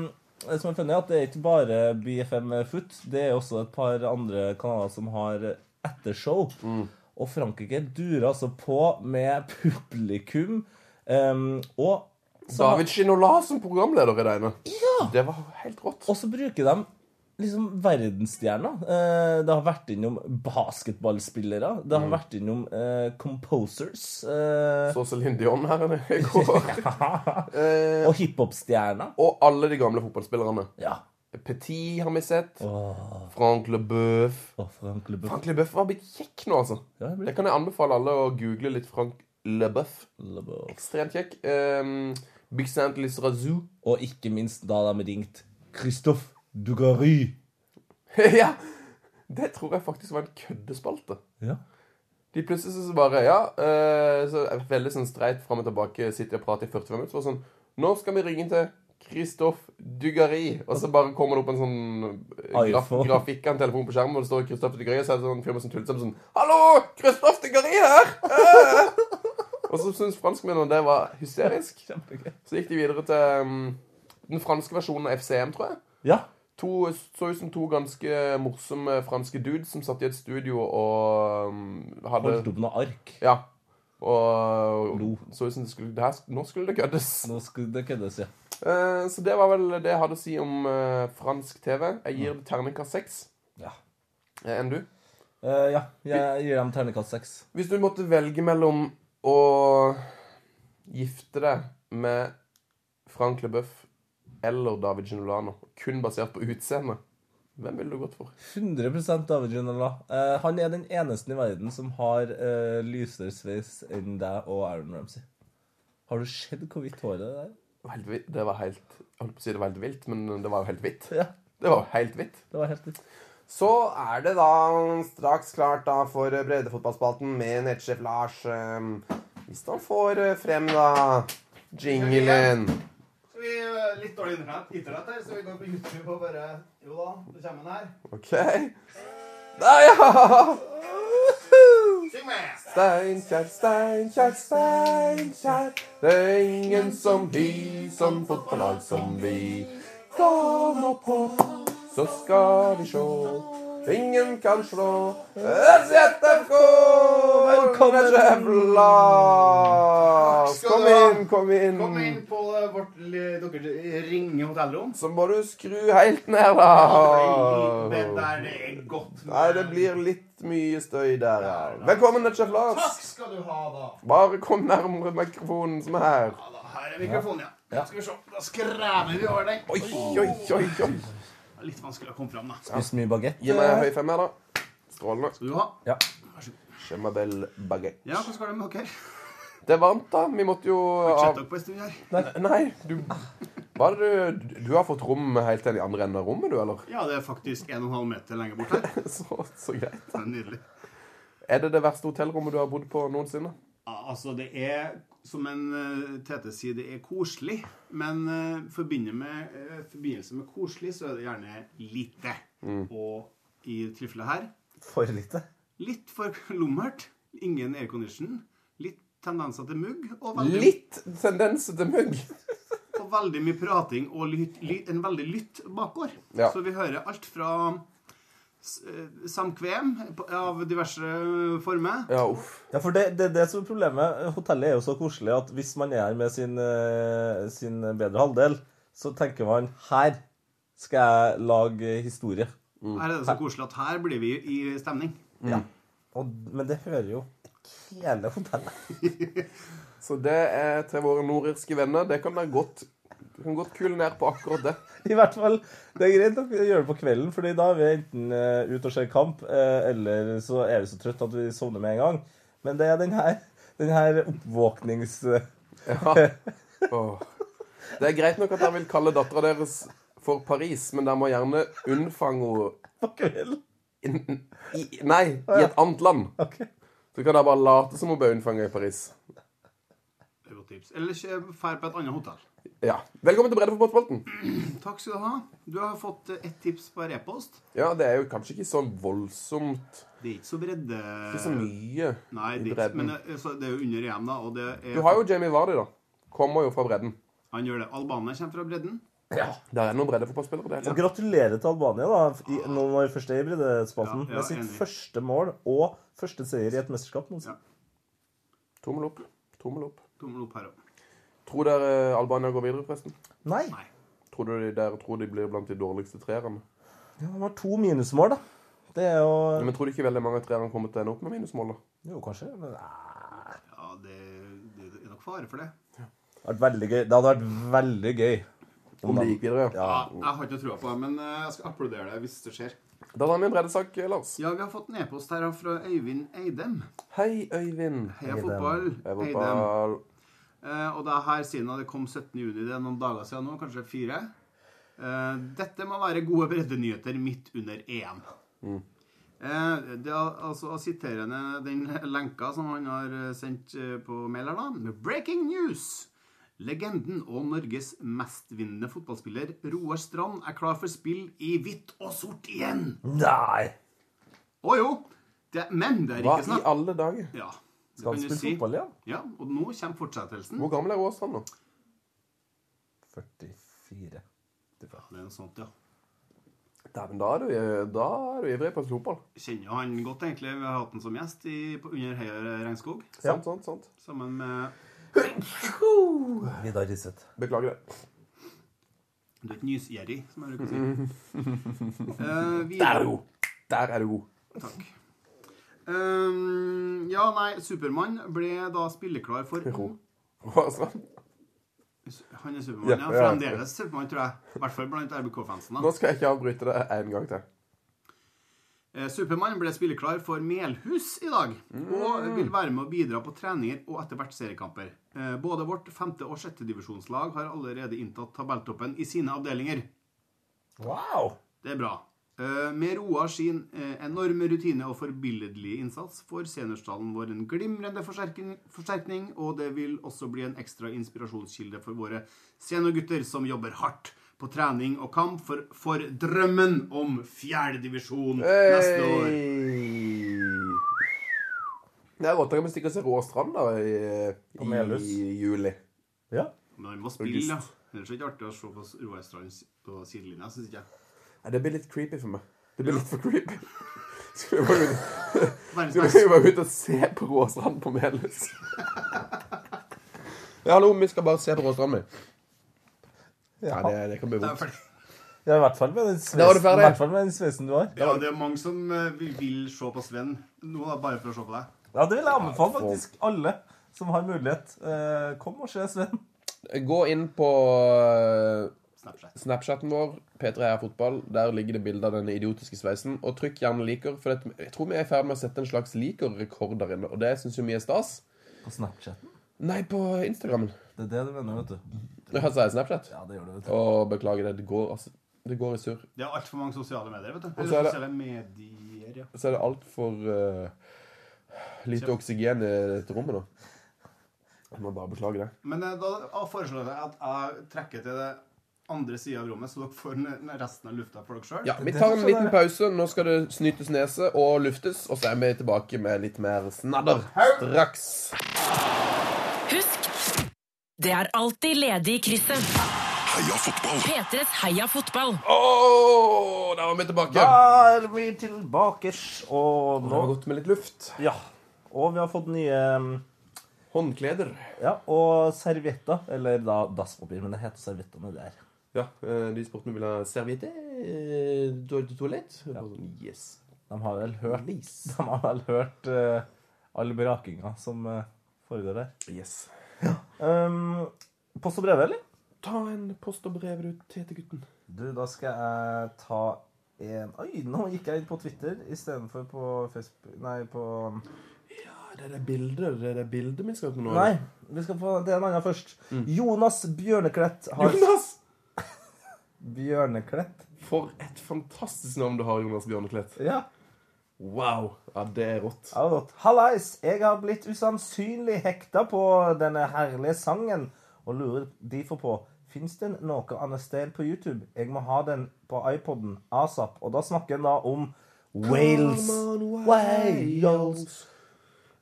Speaker 3: det som er funnet er at det er ikke bare BFM Foot. Det er også et par andre kanaler som har ettershow.
Speaker 4: Mm.
Speaker 3: Og Frankrike durer altså på med publikum. Um, og så har-
Speaker 4: David Shinola som programleder i det ene. Det var helt rått.
Speaker 3: Og så bruker de liksom verdensstjerner. Eh, Det har vært innom basketballspillere. Det har vært innom eh, composers. Eh,
Speaker 4: Mm. Så Céline Dion her i går. Eh,
Speaker 3: og hiphopstjerner.
Speaker 4: og alle de gamle fotballspillerne.
Speaker 3: Ja.
Speaker 4: Petit har vi sett. Frank Leboeuf.
Speaker 3: Og Frank Leboeuf.
Speaker 4: Frank Leboeuf var blitt kjekk nå, altså.
Speaker 3: Ja, jeg blir-
Speaker 4: Det kan jeg anbefale alle å google litt Frank Leboeuf.
Speaker 3: Leboeuf.
Speaker 4: Ekstremt kjekk. Um, Big Saint Lizrazou.
Speaker 3: Og ikke minst da de ringte Christophe Dugary.
Speaker 4: ja! Det tror jeg faktisk var en køddespalte.
Speaker 3: Ja.
Speaker 4: De plutselig så bare Ja. eh, så er det veldig sånn streit fram og tilbake, sitter og prater i 45 minutter. Så var det sånn Nå skal vi ringe til Kristoff Dugari. Og så bare kommer det opp en sånn eh, graf
Speaker 3: iPhone.
Speaker 4: grafikk av en telefon på skjermen, og det står Kristoff Dugari, og så er det sånn firma som tuller sammen sånn Hallo! Kristoff Dugari her! Eh!» og så syns franskmennene det var hysterisk.
Speaker 3: Kjempegøy.
Speaker 4: Så gikk de videre til mm, den franske versjonen av FCM, tror jeg.
Speaker 3: Ja.
Speaker 4: To, så ut som to ganske morsomme franske dudes som satt i et studio og mm, hadde
Speaker 3: Holdt opp noe ark.
Speaker 4: Ja. Og
Speaker 3: Lo.
Speaker 4: så ut som det skulle det her, Nå skulle det køddes.
Speaker 3: Nå skulle det køddes, ja.
Speaker 4: Eh, så det var vel det jeg hadde å si om eh, fransk TV. Jeg gir det terningkast seks.
Speaker 3: Ja.
Speaker 4: Eh, Enn du?
Speaker 3: Eh, ja, jeg gir dem terningkast seks.
Speaker 4: Hvis du måtte velge mellom å gifte deg med Frank LeBøff eller David Genolano, kun basert på utseende, hvem ville du gått for?
Speaker 3: 100 David Ginola. Eh, han er den eneste i verden som har eh, lysere sveis enn deg og Aaron Ramsey. Har du sett hvor hvitt håret det er?
Speaker 4: Det var helt vilt. Det var helt, jeg holdt på å si det var helt vilt, men det var jo helt hvitt.
Speaker 3: Ja,
Speaker 4: Det var jo helt hvitt.
Speaker 3: det var helt hvitt.
Speaker 4: Så er det da straks klart da for breddefotballspalten med nettsjef Lars. ehm, Hvis han får eh, frem da jinglen.
Speaker 6: Så vi er litt dårlig internett, internett her, så vi går på YouTube og bare Jo da, det kommer den her.
Speaker 4: OK. Der, ja!
Speaker 6: Syng med!
Speaker 4: Steinkjer, Steinkjer, Steinkjer. Det er ingen som vi, som fotballag som vi. Kom nå på, så skal vi sjå. Ingen kan slå SJFK! Velkommen, Skjevla!
Speaker 6: skal
Speaker 4: Kom
Speaker 6: du ha.
Speaker 4: inn, kom inn.
Speaker 6: Kom inn på eh, vårt li- deres ringe hotellrom.
Speaker 4: Så må du skru helt ned, da.
Speaker 6: Den der er godt. med-
Speaker 4: Ah. Nei, det blir litt mye støy der, ja. Velkommen, Sjef Lars.
Speaker 6: Takk skal du ha, da.
Speaker 4: Bare kom nærmere mikrofonen som er her.
Speaker 6: Ja, da her er mikrofonen, ja. Skal vi se. Da skrever vi over den.
Speaker 4: Oi, oi, oi, oi.
Speaker 6: Det er Litt vanskelig å komme fram, da.
Speaker 3: Spist mye bagett.
Speaker 4: Gi meg en høy femmer, da. Strålende.
Speaker 6: Skal du ha?
Speaker 3: Ja.
Speaker 4: Chemabel baguette.
Speaker 6: Ja, hvordan går det med dere?
Speaker 4: Det er varmt, da. Vi måtte jo
Speaker 6: Chat
Speaker 4: av...
Speaker 6: dere på en stund her?
Speaker 4: Nei, du Hva er det du Du har fått rom helt til den andre enden av rommet, du, eller?
Speaker 6: Ja, det er faktisk 1,5 meter lenger bort her.
Speaker 4: Så, så greit.
Speaker 6: Det er nydelig.
Speaker 4: Er det det verste hotellrommet du har bodd på noensinne?
Speaker 6: Ja, Altså, det er, som en eh, Tete sier, det er koselig. Men eh, forbinder med, eh, forbindelse med koselig, så er det gjerne lite.
Speaker 4: Mm.
Speaker 6: Og i tilfellet her
Speaker 3: For lite.
Speaker 6: litt for lummert. Ingen aircondition. Litt tendenser til mugg. Og veldig,
Speaker 4: Litt tendens til mugg.
Speaker 6: og veldig mye prating og lyt, lyt, en veldig lytt bakgård.
Speaker 4: Ja.
Speaker 6: Så vi hører alt fra s- eh, samkvem på- av diverse eh, former.
Speaker 4: Ja, uff.
Speaker 3: Ja, for det, det, det som er problemet. Hotellet er jo så koselig at hvis man er her med sin, eh, sin bedre halvdel, så tenker man her skal jeg lage historie.
Speaker 6: Her er det så koselig at her blir vi i stemning.
Speaker 3: Ja. Og, men det hører jo hele hotellet.
Speaker 4: Så det er til våre nordirske venner. Det kan dere godt Du kan godt kule ned på akkurat det.
Speaker 3: I hvert fall, Det er greit å gjøre det på kvelden, Fordi da er vi enten eh, ute og ser kamp, eh, eller så er vi så trøtte at vi sovner med en gang. Men det er den her, den her oppvåknings...
Speaker 4: Ja. Åh. Det er greit nok at dere vil kalle dattera deres for Paris, men dere må gjerne unnfange henne
Speaker 3: på kvelden.
Speaker 4: inn- i- Nei, i et annet land.
Speaker 3: Ok.
Speaker 4: Så kan dere bare late som hun ble unnfanget i Paris.
Speaker 6: Det er godt tips. Eller kjø- fær på et annet hotell.
Speaker 4: Ja. Velkommen til Breddefotballspalten.
Speaker 6: Takk skal du ha. Du har fått eh, ett tips på repost.
Speaker 4: Ja, det er jo kanskje ikke så voldsomt
Speaker 6: Det er ikke så bredde...
Speaker 4: Ikke så mye
Speaker 6: Nei,
Speaker 4: i
Speaker 6: det er, ikke-
Speaker 4: bredden.
Speaker 6: men eh, det, så det er jo under EM, da, og det er
Speaker 4: Du har jo Jamie Vardy, da. Kommer jo fra bredden.
Speaker 6: Han gjør det. Albania kommer fra bredden.
Speaker 4: Der er noen breddefotballspillere. Det er helt
Speaker 3: Og gratulerer til Albania, da. I, nå var vi først i breddespalten.
Speaker 6: Ja, ja,
Speaker 3: med sitt
Speaker 6: enig.
Speaker 3: første mål og første seier i et mesterskap. noensinne.
Speaker 6: Ja.
Speaker 4: sant. Tommel opp. Tommel opp.
Speaker 6: Tommel opp her òg.
Speaker 4: Tror dere Albania går videre, forresten?
Speaker 3: Nei.
Speaker 6: Nei.
Speaker 4: Tror du de der tror de blir blant de dårligste treerne?
Speaker 3: Ja, det var to minusmål, da. Det er
Speaker 4: Ja,
Speaker 3: jo
Speaker 4: Men tror du ikke veldig mange av treerne kommer til å ende opp med minusmål? da?
Speaker 3: Jo, kanskje. Men det hadde
Speaker 6: Ja, det, det er nok fare for det.
Speaker 3: vært veldig gøy. Det hadde vært veldig gøy.
Speaker 4: Om de gikk videre, ja.
Speaker 6: Ja, jeg har ikke trua på det, men eh, jeg skal applaudere det hvis det skjer.
Speaker 4: Da tar vi en breddesak, Lars.
Speaker 6: Ja, vi har fått en e-post her fra Øyvind Eidem.
Speaker 4: Hei, Øyvind.
Speaker 6: Heia fotball.
Speaker 4: Jeg var
Speaker 6: Eidem.
Speaker 4: bare...
Speaker 6: Eh, og det er her siden det kom 17. juni, det er noen dager siden nå, kanskje fire.
Speaker 3: Mm.
Speaker 6: Eh, dette må være gode breddenyheter midt under EM. Eh, det er altså å sitere henne- den lenka som han har eh, sendt eh, på mail her, da. Med breaking news! Legenden og Norges mestvinnende fotballspiller Roar Strand er klar for spill i hvitt og sort igjen!
Speaker 3: Nei!
Speaker 6: Å jo! Det, men det er
Speaker 4: Hva
Speaker 6: ikke
Speaker 4: i
Speaker 6: snakk
Speaker 4: alle dager?
Speaker 6: ja, det
Speaker 3: Skal han
Speaker 6: kan du
Speaker 3: spille
Speaker 6: si.
Speaker 3: fotball igjen?
Speaker 6: Ja, og nå kommer fortsettelsen.
Speaker 4: Hvor gammel er Åsland nå?
Speaker 3: 44.
Speaker 6: Det er noe sånt, ja.
Speaker 4: Dæven, da er du, da er du ivrig på å spille fotball.
Speaker 6: Kjenner jo han godt, egentlig. Vi har hatt han som gjest i, på, under Høyre regnskog.
Speaker 4: Sant, sant, sant.
Speaker 6: Sammen med
Speaker 3: Vidar Riseth.
Speaker 4: Beklager det.
Speaker 6: Du er ikke nysgjerrig, som jeg bruker å si. Eh,
Speaker 4: Mm. Der
Speaker 6: videre-
Speaker 4: er du god! Der er du god.
Speaker 6: Takk. Ehm, ja, nei, Supermann ble da spilleklar for
Speaker 4: Ro. Åsland.
Speaker 6: Han er Supermann, ja.
Speaker 4: Ja, ja.
Speaker 6: Fremdeles Supermann, tror jeg. I hvert fall blant RBK-fansen. da.
Speaker 4: Nå skal jeg ikke avbryte det en gang til.
Speaker 6: Eh, Supermann ble spilleklar for Melhus i dag, og
Speaker 4: Mm.
Speaker 6: vil være med å bidra på treninger og etter hvert seriekamper. Eh, Både vårt femte- og sjettedivisjonslag har allerede inntatt tabelltoppen i sine avdelinger.
Speaker 3: Wow!
Speaker 6: Det er bra. Eh, Med Roar sin eh, enorme rutine og forbilledlige innsats får seniorstallen vår en glimrende forsterkning, forsterkning, og det vil også bli en ekstra inspirasjonskilde for våre seniorgutter som jobber hardt på trening og kamp for, for drømmen om fjerdedivisjon neste år.
Speaker 4: Hei! Det er rått. Da kan vi stikke og se Råstrand da i,
Speaker 3: På Melhus.
Speaker 4: i juli.
Speaker 3: Ja.
Speaker 6: Men han må spille, ja. Ellers er det ikke artig å se på Roar Strand på sidelinja, syns ikke jeg.
Speaker 4: Nei, det blir litt creepy for meg. Det blir litt for creepy. Skulle jeg bare ut-
Speaker 6: Verdens
Speaker 4: skulle
Speaker 6: beste.
Speaker 4: jeg bare ut og se på Råstrand på Melhus? Ja, hallo, vi skal bare se på Råstrand, vi.
Speaker 3: Ja.
Speaker 4: Nei, det, det kan bli
Speaker 6: Det er
Speaker 4: vondt.
Speaker 6: ferdig.
Speaker 3: Ja, I hvert fall med den
Speaker 4: Da var du
Speaker 3: sveisen,
Speaker 4: ferdig.
Speaker 3: i hvert fall med den sveisen du har.
Speaker 6: Ja, det er mange som eh, vil- vil se på Sven nå, da, bare for å se på deg.
Speaker 3: Ja, Det vil jeg anbefale faktisk alle som har mulighet. Eh, kom og se Sven.
Speaker 4: Gå inn på eh,
Speaker 6: Snapchat.
Speaker 4: Snapchaten vår, P3 er fotball, der ligger det bilde av den idiotiske sveisen. Og trykk gjerne liker, for det, jeg tror vi er i ferd med å sette en slags liker-rekord der inne. Og det syns jo vi er stas.
Speaker 3: På Snapchaten.
Speaker 4: Nei, på Instagram.
Speaker 3: Det er det du mener, vet du.
Speaker 4: Ja, sa jeg Snapchat?
Speaker 3: Ja, det gjør du, vet du.
Speaker 4: Å, beklager det. Det går, altså, det går i surr.
Speaker 6: Det er altfor mange sosiale medier, vet du.
Speaker 4: Og så er
Speaker 6: Eller
Speaker 4: det-
Speaker 6: sosiale medier, ja.
Speaker 4: Så er det altfor uh, lite oksygen i dette rommet nå. Jeg må bare beklage det.
Speaker 6: Men eh, da foreslår jeg at jeg trekker til det andre sida av rommet, så dere får n- n- resten av lufta for dere sjøl.
Speaker 4: Ja, Vi tar en liten pause. Nå skal det snytes nese og luftes. Og så er vi tilbake med litt mer snadder straks.
Speaker 2: Husk, det er alltid ledig i krysset.
Speaker 5: Heia fotball!
Speaker 2: P3s Heia fotball.
Speaker 4: Å, da var vi tilbake.
Speaker 3: Da er vi tilbake, og
Speaker 4: Det
Speaker 3: nå
Speaker 4: var godt med litt luft.
Speaker 3: Ja. Og vi har fått nye mm,
Speaker 4: Håndkleder.
Speaker 3: Ja, og servietter. Eller da dasspapir, men det heter servietter når det er
Speaker 4: Ja, eh, de spurte om vi ville ha serviette. eh, Toalett til toalett. Og bare sånn, Yes.
Speaker 3: De har vel hørt
Speaker 4: Nice.
Speaker 3: De har vel hørt eh, all brakinga som eh, foregår der.
Speaker 4: yes.
Speaker 3: Um, post og brev, eller?
Speaker 4: Ta en post og brev du til gutten.
Speaker 3: Du, da skal jeg ta en Oi, nå gikk jeg inn på Twitter istedenfor på Facebook Nei, på mm.
Speaker 4: Ja, det er det bildet, det er det bildet vi skal til nå.
Speaker 3: Nei, vi skal få til en annen først. Jonas Bjørneklett har
Speaker 4: Jonas!
Speaker 3: Bjørneklett?
Speaker 4: For et fantastisk navn du har, Jonas Bjørneklett.
Speaker 3: Ja.
Speaker 4: Wow. Ja, det er rått.
Speaker 3: Ja, godt. Hallais! Jeg har blitt usannsynlig hekta på denne herlige sangen, og lurer derfor på Fins den noe annet sted på YouTube? Jeg må ha den på iPoden asap. Og da snakker en da om Wales. Wales.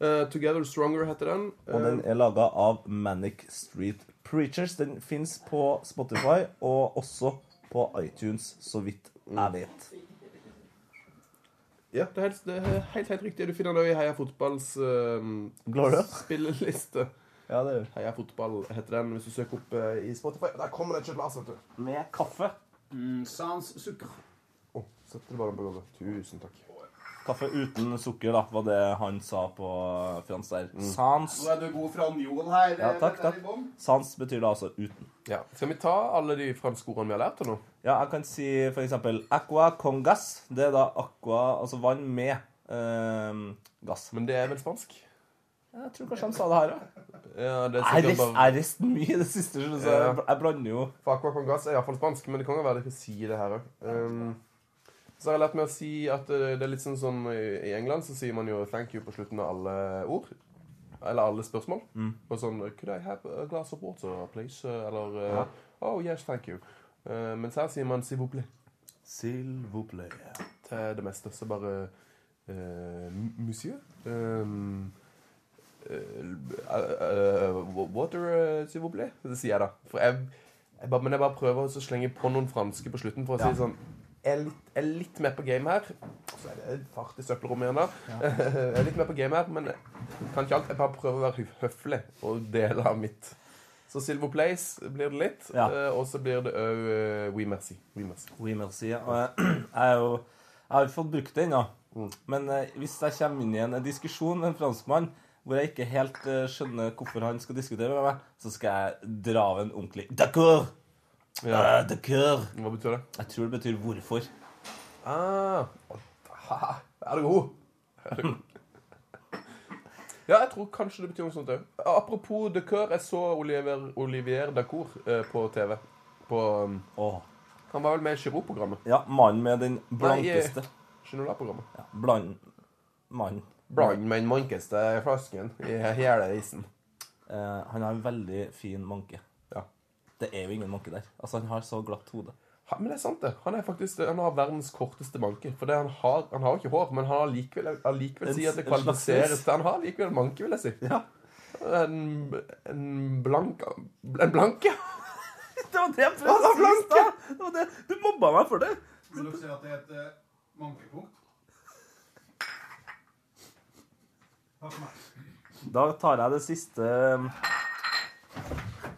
Speaker 4: Eh, Together Stronger heter den. Eh,
Speaker 3: Og den er laga av Manic Street Preachers. Den fins på Spotify og også på iTunes, så vidt jeg vet.
Speaker 4: ja, det er, helt, det er helt, helt riktig. Du finner den også i Heia Fotballs eh,
Speaker 3: Glår du?
Speaker 4: spilleliste.
Speaker 3: Ja, det gjør
Speaker 4: Heia Fotball heter den, hvis du søker opp eh, i Spotify. Der kommer det et kjøttglass, vet du.
Speaker 3: Med kaffe.
Speaker 6: Mm, sans sukker.
Speaker 4: Å, Sett det bare på gulvet. Tusen takk.
Speaker 3: Kaffe uten sukker, da, var det han sa på fransk der. Sans.
Speaker 6: Nå er du god fra Njål her.
Speaker 3: Ja,
Speaker 6: eh,
Speaker 3: takk,
Speaker 6: dette er
Speaker 3: takk.
Speaker 6: i bånn.
Speaker 3: Sans betyr da altså uten.
Speaker 4: Ja. Skal vi ta alle de franske ordene vi har lært til nå?
Speaker 3: Ja, jeg kan si for eksempel aqua con gas. Det er da aqua, altså vann med ehm, gass.
Speaker 4: Men det er vel spansk?
Speaker 3: Jeg tror kanskje han sa det her, ja.
Speaker 4: Ja, det er
Speaker 3: Jeg
Speaker 4: sikkert
Speaker 3: rist-
Speaker 4: bare...
Speaker 3: jeg rist mye i det siste, så jeg,
Speaker 4: Ja.
Speaker 3: jeg blander jo
Speaker 4: For Aqua con gas er iallfall spansk, men det kan jo være dere sier det her òg. Um, Så har jeg lært meg å si at eh, det er litt sånn som i i England så sier man jo 'thank you' på slutten av alle ord. Eller alle spørsmål. Og sånn 'Could I have a glass of water, please?' Eller eh, 'Oh yes, thank you'. Eh, mens her sier man 's'il vous plaît'
Speaker 3: Silvople.
Speaker 4: til det meste. Så bare eh, Monsieur ehm, eh, eh, eh, Water, eh, s'il vous plaît? Det sier jeg, da. For jeg, jeg bare, men jeg bare prøver å slenge på noen franske på slutten for å si sånn jeg er, litt, jeg er litt med på game her. Så er det fart i søppelrommet igjen, da. jeg er litt med på game her, men jeg kan ikke alt. Jeg bare prøver å være høf- høflig og dele av mitt. Så Silver Place blir det litt.
Speaker 3: Ja.
Speaker 4: eh, og så blir det òg We Mercy. We Mercy.
Speaker 3: Oui, merci. Og jeg, jeg er jo Jeg har ikke fått brukt det ennå. Men eh, hvis jeg kommer inn i en diskusjon med en franskmann hvor jeg ikke helt eh, skjønner hvorfor han skal diskutere med meg, så skal jeg dra av en ordentlig D'accord!
Speaker 4: Ja.
Speaker 3: Eh, D'accord!
Speaker 4: Hva betyr det?
Speaker 3: Jeg tror det betyr hvorfor.
Speaker 4: Ah, og da Ah. er du god. Er du god. Ja, jeg tror kanskje det betyr noe sånt òg. Apropos de Coeur, jeg så Olivier, Olivier Dacour eh, på TV. På, um,
Speaker 3: Åh.
Speaker 4: han var vel med i Giroud-programmet.
Speaker 3: Ja, mannen med den blankeste
Speaker 4: Nei, Genola-programmet.
Speaker 3: ja, Bland... Mannen.
Speaker 4: Bland med den mankeste flasken i hele isen.
Speaker 3: Eh, han har en veldig fin manke.
Speaker 4: Ja.
Speaker 3: Det er jo ingen manke der. Altså, han har så glatt hode.
Speaker 4: Ha- Men det er sant, det. Han, er faktisk, han har verdens korteste manke. For det han, har, han har jo ikke hår, men han har likevel, jeg vil likevel
Speaker 3: En
Speaker 4: si at det
Speaker 3: s- en slags
Speaker 4: kvalifiseres
Speaker 3: sveis.
Speaker 4: til Han har likevel en manke, vil jeg si. En, en blank En blanke?
Speaker 3: Det var det jeg
Speaker 4: Ja, han
Speaker 3: prøvde
Speaker 4: har blanke!
Speaker 3: Det var det. Du mobba meg for det.
Speaker 6: Vil dere si at det er et eh, mankepunkt? Takk for meg.
Speaker 3: Da tar jeg det siste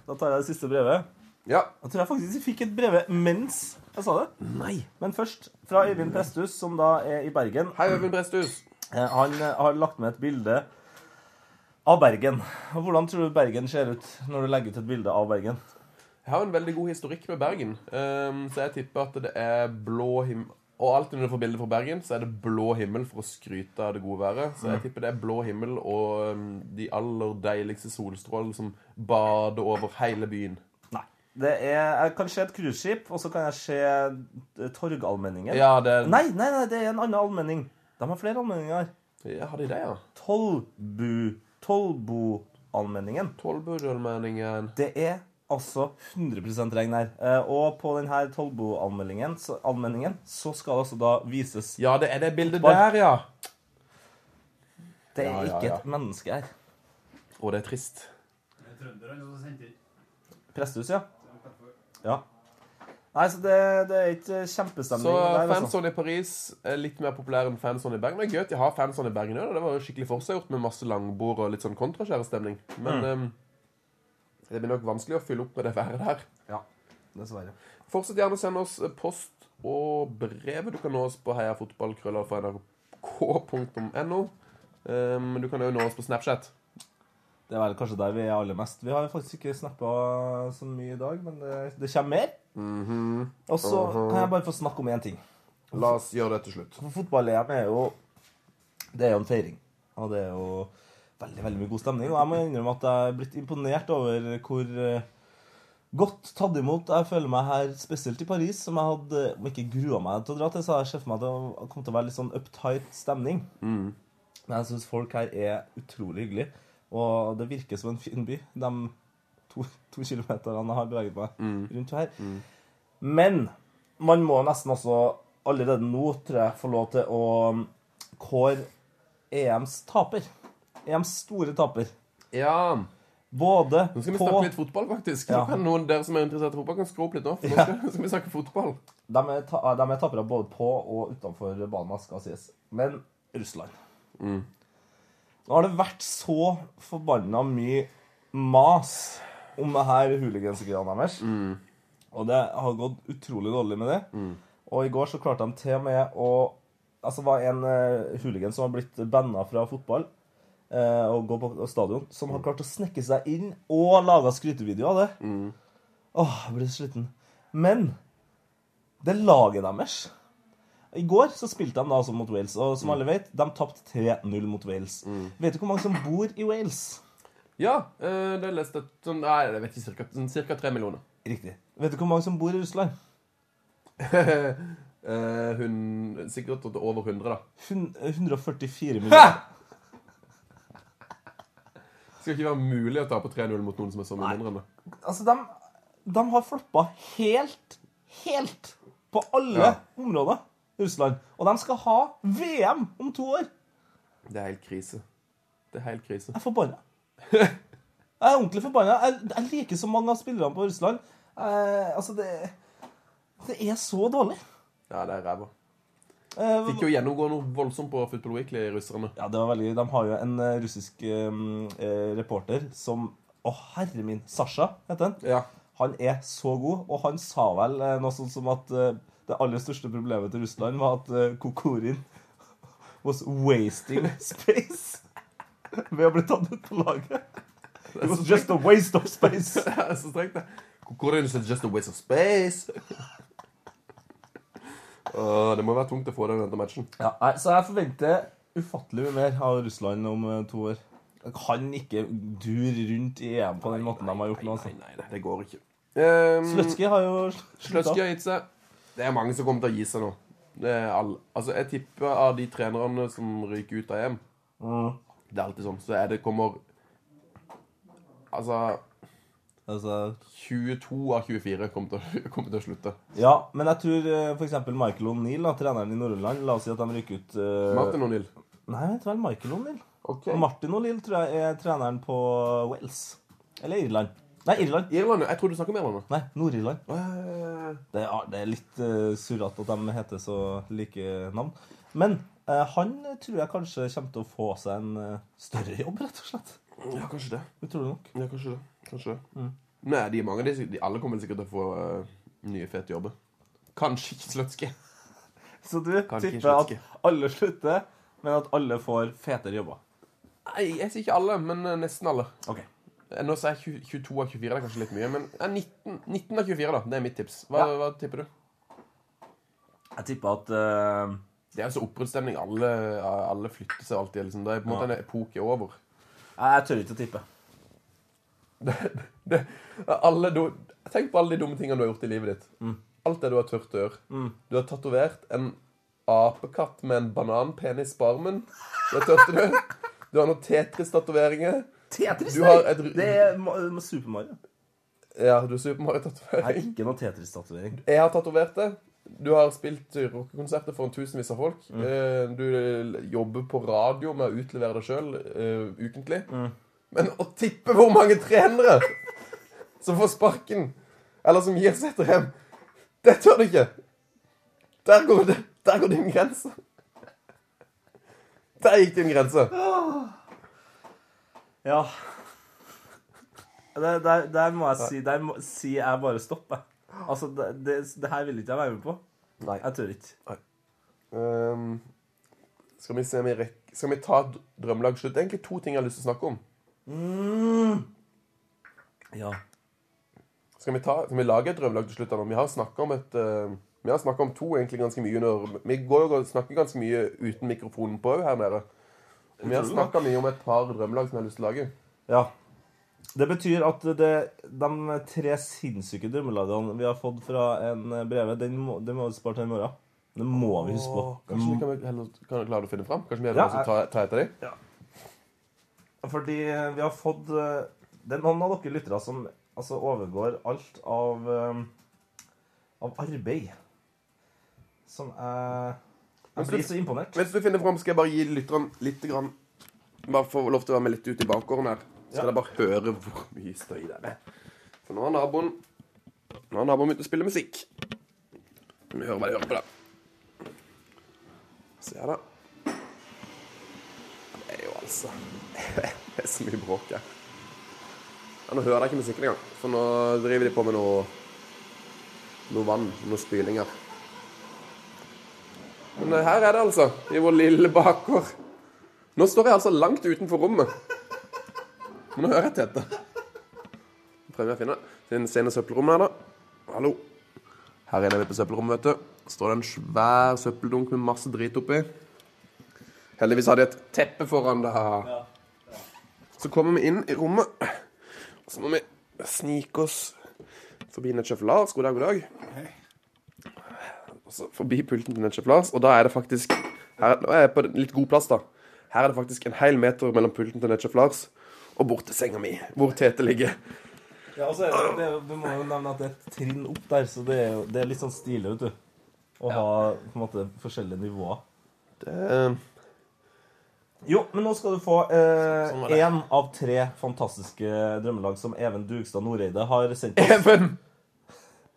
Speaker 3: Da tar jeg det siste brevet.
Speaker 4: Ja.
Speaker 3: Jeg tror jeg faktisk fikk et brev mens jeg sa det.
Speaker 4: Nei.
Speaker 3: Men først fra Øyvind Presthus, som da er i Bergen.
Speaker 4: Hei, Øyvind Bresthus.
Speaker 3: Eh, Han eh, har lagt med et bilde av Bergen. Og Hvordan tror du Bergen ser ut når du legger ut et bilde av Bergen?
Speaker 4: Jeg har en veldig god historikk med Bergen, ehm, så jeg tipper at det er blå himmel Og alltid når du får bilder fra Bergen, så er det blå himmel for å skryte av det gode været. Så jeg tipper det er blå himmel og ehm, de aller deiligste solstrålene som bader over hele byen.
Speaker 3: Nei. Det er, jeg kan se et cruiseskip, og så kan jeg se eh, Torgallmenningen.
Speaker 4: Ja, det er
Speaker 3: Nei, nei, nei, det er en annen allmenning. De har flere allmenninger her.
Speaker 4: Ja, har de det, ja?
Speaker 3: Tollbu... Tollboallmenningen.
Speaker 4: Tollbudølmenningen
Speaker 3: Det er altså 100 regn her. Eh, Og på denne Tollboallmenningen så, allmenningen, så skal det altså da vises
Speaker 4: Ja, det er det bildet
Speaker 3: Bare-
Speaker 4: der, ja.
Speaker 3: Det er
Speaker 4: Ja, ja,
Speaker 3: ikke
Speaker 4: ja.
Speaker 3: et menneske her.
Speaker 4: Å, det er trist.
Speaker 6: Det er trønderne som sendte inn.
Speaker 3: Presthus, ja. ja. Nei, så det, det er ikke kjempestemning
Speaker 4: Så
Speaker 3: der, altså.
Speaker 4: fanzone i Paris er litt mer populær enn fanzone i Bergen. Det er gøy at de har fanzone i Bergen òg. Det var jo skikkelig forseggjort med masse langbord og litt sånn kontraskjærestemning. Men ehm, det blir nok vanskelig å fylle opp med det været der.
Speaker 3: Ja, dessverre.
Speaker 4: Fortsett gjerne å sende oss eh, post og brev. Du kan nå oss på heiafotballkrøllalfa.nrk.no. Ehm, du kan òg nå oss på Snapchat.
Speaker 3: Det er vel kanskje der vi er aller mest. Vi har faktisk ikke snappa så mye i dag, men det, det kommer mer. Og så kan jeg bare få snakke om én ting.
Speaker 4: La oss gjøre det til slutt.
Speaker 3: For fotball-EM er jo Det er jo en feiring. Og det er jo veldig veldig mye god stemning. Og jeg må innrømme at jeg er blitt imponert over hvor eh, godt tatt imot jeg føler meg her, spesielt i Paris, som jeg hadde om jeg ikke grua meg til å dra til, så har jeg sett for meg at det kom til å være litt sånn uptight stemning. Men jeg syns folk her er utrolig hyggelige, og det virker som en fin by. De to, to kilometerne jeg har beveget meg rundt her. Men man må nesten også allerede nå, tror jeg, få lov til å kåre EMs taper. EMs store taper.
Speaker 4: Ja.
Speaker 3: Både
Speaker 4: Nå skal vi
Speaker 3: på
Speaker 4: snakke litt fotball, faktisk.
Speaker 3: Ja.
Speaker 4: Nå kan noen dere som er interessert i fotball, kan skru opp litt nå. For nå skal, skal vi snakke fotball.
Speaker 3: de er, ta, de er tapere både på og utenfor banen, skal sies. Men Russland Nå har det vært så forbanna mye mas om det her hooligansgreiene deres. Og det har gått utrolig dårlig med det. Og i går så klarte de til og med å Altså det var en uh, hooligan som har blitt banna fra fotball eh, og gå på stadion, som har klart å snekke seg inn og laga skrytevideo av det. Åh, jeg blir sliten. Men det er laget deres. I går så spilte de da altså mot Wales, og som alle vet, de tapte 3-0 mot Wales. Vet du hvor mange som bor i Wales?
Speaker 4: Ja, eh, det leste jeg sånn, Nei, jeg vet ikke, cirka, sånn, cirka tre millioner.
Speaker 3: Riktig. Vet du hvor mange som bor i Russland?
Speaker 4: Eh, hun, sikkert til over 100, da.
Speaker 3: Hun- 144 millioner.
Speaker 4: Det skal ikke være mulig å tape 3-0 mot noen som er så mye mindre enn det.
Speaker 3: Altså, de, de har floppa helt, helt på alle
Speaker 4: Ja.
Speaker 3: områder, Russland. Og de skal ha VM om to år.
Speaker 4: Det er helt krise. Det er helt krise.
Speaker 3: Jeg er forbanna. Jeg er ordentlig forbanna. Jeg, jeg liker så mange av spillerne på Russland. Eh, altså, det Det er så dårlig.
Speaker 4: Ja, det er ræva.
Speaker 3: Eh,
Speaker 4: Fikk jo gjennomgå noe voldsomt på Football Weekly, russerne.
Speaker 3: ja, det var veldig, de har jo en eh, russisk eh, eh, reporter som Å, herre min! Sasha heter han.
Speaker 4: Ja.
Speaker 3: Han er så god, og han sa vel eh, noe sånt som at eh, det aller største problemet til Russland var at eh, Kokorin was wasting space ved å bli tatt ut på laget. It was just a waste of space.
Speaker 4: Det er så strengt, det. Kokorin is just a waste of space. Åh, det må være tungt å få den etter matchen.
Speaker 3: Ja, nei, så jeg forventer ufattelig mye mer av Russland om eh, to år. Jeg kan ikke dure rundt i EM på den måten de har gjort nå.
Speaker 4: Nei,
Speaker 3: Altså.
Speaker 4: nei, nei, det går ikke. Um,
Speaker 3: Sløtski har jo
Speaker 4: Sløtski
Speaker 3: slutta.
Speaker 4: har gitt seg. Det er mange som kommer til å gi seg nå. Det er all... Altså, Jeg tipper av de trenerne som ryker ut av EM Det er alltid sånn. Så er det kommer Altså
Speaker 3: Altså,
Speaker 4: 22 av 24 kommer til, å- kommer til å slutte.
Speaker 3: ja, men jeg tror f.eks. Michael O'Neill, da, treneren i Nord-Irland La oss si at de rykker ut eh,
Speaker 4: Martin O'Neill.
Speaker 3: Nei, jeg tror det er Michael O'Neill.
Speaker 4: Okay.
Speaker 3: Og Martin O'Neill tror jeg er treneren på Wales. Eller Irland. Nei, Irland.
Speaker 4: Irland, ja. jeg tror du snakker om Irland. nå.
Speaker 3: Nei, Nord-Irland.
Speaker 4: Eh,
Speaker 3: Det, er- det er litt uh, surrete at de heter så like navn. Men eh, han tror jeg kanskje kommer til å få seg en eh, større jobb, rett og slett.
Speaker 4: Ja, kanskje det.
Speaker 3: Utrolig nok.
Speaker 4: Ja, kanskje det. Kanskje det. Nei, de er mange de, de alle kommer sikkert til å få eh, nye, fete jobber. Kanskje ikke Sløtski.
Speaker 3: Så du
Speaker 4: Kanskje
Speaker 3: tipper at
Speaker 4: ikke.
Speaker 3: alle slutter, men at alle får fetere jobber?
Speaker 4: Nei, jeg sier ikke alle, men eh, nesten alle.
Speaker 3: Ok.
Speaker 4: Eh, Nå sier jeg 20 22 av 24, det er kanskje litt mye, men ja, 19, 19 av 24, da. Det er mitt tips. Hva,
Speaker 3: Ja.
Speaker 4: hva tipper du?
Speaker 3: Jeg tipper at eh,
Speaker 4: Det er jo så oppbruddsstemning. Alle, alle flytter seg alltid. Liksom. Det er på en måte en epoke over.
Speaker 3: Nei, jeg tør ikke å tippe.
Speaker 4: Det, alle, du, tenk på alle de dumme tingene du har gjort i livet ditt. Alt det du har tørt å gjøre. Du har tatovert en apekatt med en bananpenis på armen. Det tørte du. Du har noen Tetris-tatoveringer.
Speaker 3: Tetris,
Speaker 4: Du
Speaker 3: nei!
Speaker 4: har et-
Speaker 3: Det er Ma- Super Mario.
Speaker 4: Ja, du har Super
Speaker 3: Det er
Speaker 4: Mario-tatovering.
Speaker 3: ikke noe Tetris-tatovering.
Speaker 4: Jeg har tatovert det. Du har spilt rockekonserter foran tusenvis av folk. Eh, Du jobber på radio med å utlevere deg sjøl ukentlig. Men å tippe hvor mange trenere som får sparken, eller som gir seg etter hjem, det tør du ikke. Der går, det, der går din grense. Der gikk din grense.
Speaker 3: Ja. Der, der, der må jeg si Der må, si jeg bare stopp, jeg. Altså, det, det, det her vil ikke jeg være med på.
Speaker 4: Nei.
Speaker 3: Jeg tør ikke.
Speaker 4: Ehm, skal vi se om vi rekker Skal vi ta d- drømmelagsslutt? Det er egentlig to ting jeg har lyst til å snakke om.
Speaker 3: Ja.
Speaker 4: Skal vi, ta, skal vi lage et drømmelag til slutt? Anna? Vi har snakka om, et, eh, vi har snakket om to egentlig ganske mye. Når, vi går jo og snakker ganske mye uten mikrofonen på her nede. Vi har snakka mye om et par drømmelag som jeg har lyst til å lage.
Speaker 3: ja. Det betyr at det, de tre sinnssyke drømmelagene vi har fått fra en breve, den må, den må vi spare til i morgen. Det må vi huske
Speaker 4: Åh,
Speaker 3: på.
Speaker 4: kanskje vi kan, heller, kan klare å finne fram? Kanskje vi
Speaker 3: Ja,
Speaker 4: heller også tar ta etter dem?
Speaker 3: Fordi vi har fått eh, Det er noen av dere lyttere som altså, overgår alt av, eh, av arbeid. Som jeg Jeg blir så imponert.
Speaker 4: Mens du finner fram, skal jeg bare gi lytteren litt grann, Bare få lov til å være med litt ut i bakgården her. Så skal
Speaker 3: Ja.
Speaker 4: dere bare høre hvor mye støy det er. For nå har naboen Nå har naboen begynt å spille musikk. Vi hører hva de hører på, da. Se her, da. Det er jo altså Det er så mye bråk her. Ja, nå hører jeg ikke musikken engang, for nå driver de på med noe noe vann, noe spyling her. Men her er det altså, i vår lille bakgård. Nå står jeg altså langt utenfor rommet. Men nå hører jeg til dette. Prøver jeg å finne Finne scenen i søppelrommet her, da. Hallo. Her er det vi på søppelrommet, vet du. Står det en svær søppeldunk med masse drit oppi. Heldigvis har de et teppe foran det her. Så kommer vi inn i rommet. Og så må vi snike oss forbi Netchef Lars. God dag, god dag. altså, forbi pulten til Netchef-Lars, og da er det faktisk her, Nå er jeg på en litt god plass, da. Her er det faktisk en hel meter mellom pulten til Netchef-Lars og bort til senga mi, hvor Tete ligger.
Speaker 3: Ja, og så er det, det, er jo- Du må jo nevne at det er et trinn opp der, så det er, jo, det er litt sånn stilig, vet du. Å ha på en måte forskjellige nivåer.
Speaker 4: Det,
Speaker 3: Jo, men nå skal du få
Speaker 4: Sånn var
Speaker 3: én
Speaker 4: det.
Speaker 3: av tre fantastiske drømmelag som Even Dugstad Noreide har sendt oss.
Speaker 4: Even!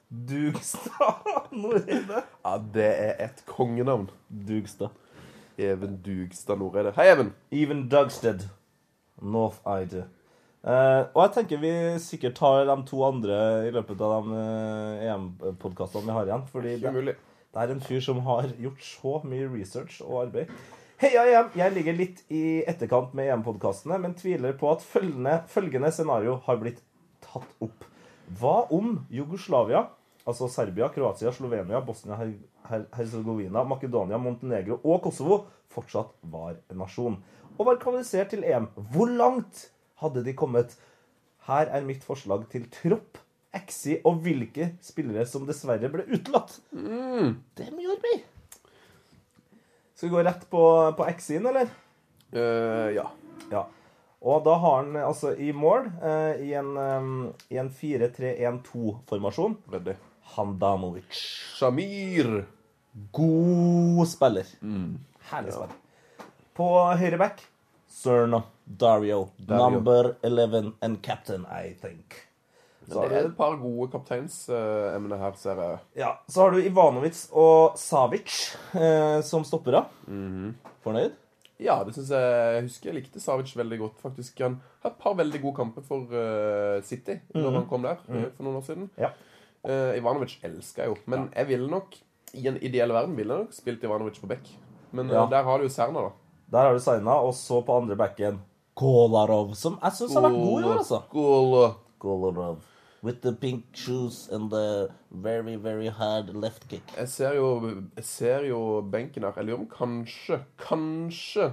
Speaker 3: Dugstad Noreide?
Speaker 4: Ja, det er et kongenavn.
Speaker 3: Dugstad.
Speaker 4: Even Dugstad Noreide. Hei, Even.
Speaker 3: Even Dugstead. North Ide. Eh, og jeg tenker vi sikkert tar de to andre i løpet av de eh, EM-podkastene vi har igjen. Fordi det,
Speaker 4: Umulig.
Speaker 3: det er en fyr som har gjort så mye research og arbeid. Heia EM! Jeg ligger litt i etterkant med EM-podkastene, men tviler på at følgende, følgende scenario har blitt tatt opp. Hva om Jugoslavia, altså Serbia, Kroatia, Slovenia, Bosnia-Hercegovina, Makedonia, Montenegro og Kosovo fortsatt var en nasjon? Og var kvalifisert til EM. Hvor langt hadde de kommet? Her er mitt forslag til tropp, exi og hvilke spillere som dessverre ble utelatt. Det gjorde vi. Skal vi gå rett på, på X-in, eller?
Speaker 4: Eh, ja.
Speaker 3: Ja. Og da har han eh, altså i mål, eh, i en, eh, i en 4-3-1-2-formasjon,
Speaker 4: Ryddig.
Speaker 3: Handanovic.
Speaker 4: Shamir.
Speaker 3: God spiller. Herlig spiller. På høyre back, Cerno Dario.
Speaker 4: Dario.
Speaker 3: Number 11 and captain, I think. Så
Speaker 4: Det
Speaker 3: har
Speaker 4: er
Speaker 3: du,
Speaker 4: et par gode kapteinsemner her, ser jeg.
Speaker 3: ja, så har du Ivanovic og Savic eh, som stoppere. Mhm. Fornøyd?
Speaker 4: Ja, det synes jeg Jeg husker jeg likte Savic veldig godt, faktisk. Han har et par veldig gode kamper for eh, City når han kom der eh, for noen år siden.
Speaker 3: Ja.
Speaker 4: Eh, Ivanovic elsker jeg jo, men jeg ville nok i en ideell verden ville jeg nok spilt Ivanovic på bekk. Men eh,
Speaker 3: Ja.
Speaker 4: der har du jo Serna, da.
Speaker 3: Der har du signa, og så på andre backen Kolarov, som jeg syns har vært god i år, altså.
Speaker 4: Skål. eh.
Speaker 3: Kolarov. With the pink shoes and the very, very hard left kick.
Speaker 4: Jeg ser jo, jeg ser jo benken her. Jeg lurer om kanskje, kanskje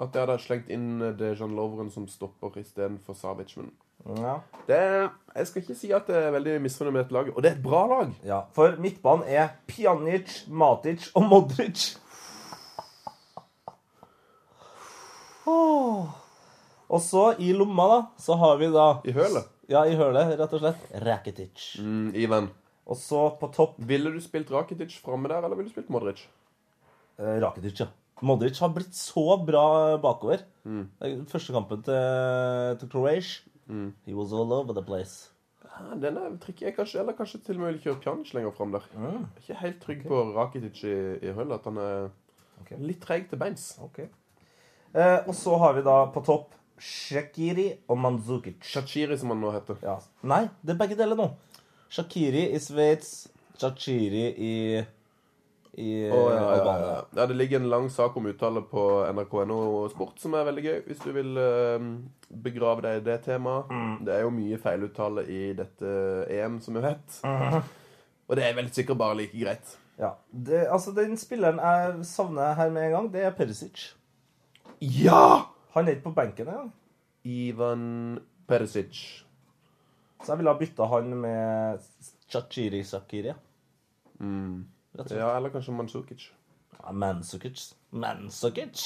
Speaker 4: at jeg hadde slengt inn eh, Dejan Lovren som stopper istedenfor Savic. Men
Speaker 3: Ja.
Speaker 4: det, jeg skal ikke si at jeg er veldig misfornøyd med dette laget. Og det er et bra lag!
Speaker 3: ja. For midtbanen er Pjanic, Matic og Modric. Åh. Og så, i lomma, da, så har vi da
Speaker 4: I hølet.
Speaker 3: Ja, i hølet, rett og slett. Rakitic.
Speaker 4: Mm, Ivan,
Speaker 3: Og så på topp
Speaker 4: ville du spilt Rakitic framme der, eller ville du spilt Modric?
Speaker 3: Eh, Rakitic, ja. Modric har blitt så bra bakover. Eh, Første kampen til, til Croatia. He was all over the place.
Speaker 4: Ja, Den er tricky. Jeg kanskje, eller kanskje til og med vil kjøre Pjanic lenger fram der. Jeg er ikke helt trygg på Rakitic i, i hølet. At han er
Speaker 3: Ok.
Speaker 4: litt treig til beins.
Speaker 3: Eh, og så har vi da på topp Shakiri og Mandzukic.
Speaker 4: Shachiri, som han nå heter.
Speaker 3: Ja. Nei, det er begge deler nå. Shakiri i Sveits, Shakiri i, i
Speaker 4: Å, ja, ja,
Speaker 3: Albania.
Speaker 4: ja. ja, Det ligger en lang sak om uttale på nrk.no sport, som er veldig gøy. Hvis du vil eh, begrave deg i det temaet. Det er jo mye feiluttale i dette EM, som jo het. Og det er vel sikkert bare like greit.
Speaker 3: Ja. Det, altså, den spilleren jeg savner her med en gang, det er Perisic.
Speaker 4: Ja!
Speaker 3: Han er ikke på benken engang.
Speaker 4: Ivan Perisic.
Speaker 3: Så jeg ville ha bytta han med Shakiri Shakiri.
Speaker 4: Ja, eller kanskje Mansukic.
Speaker 3: Ja, Mansukic. Mansukic?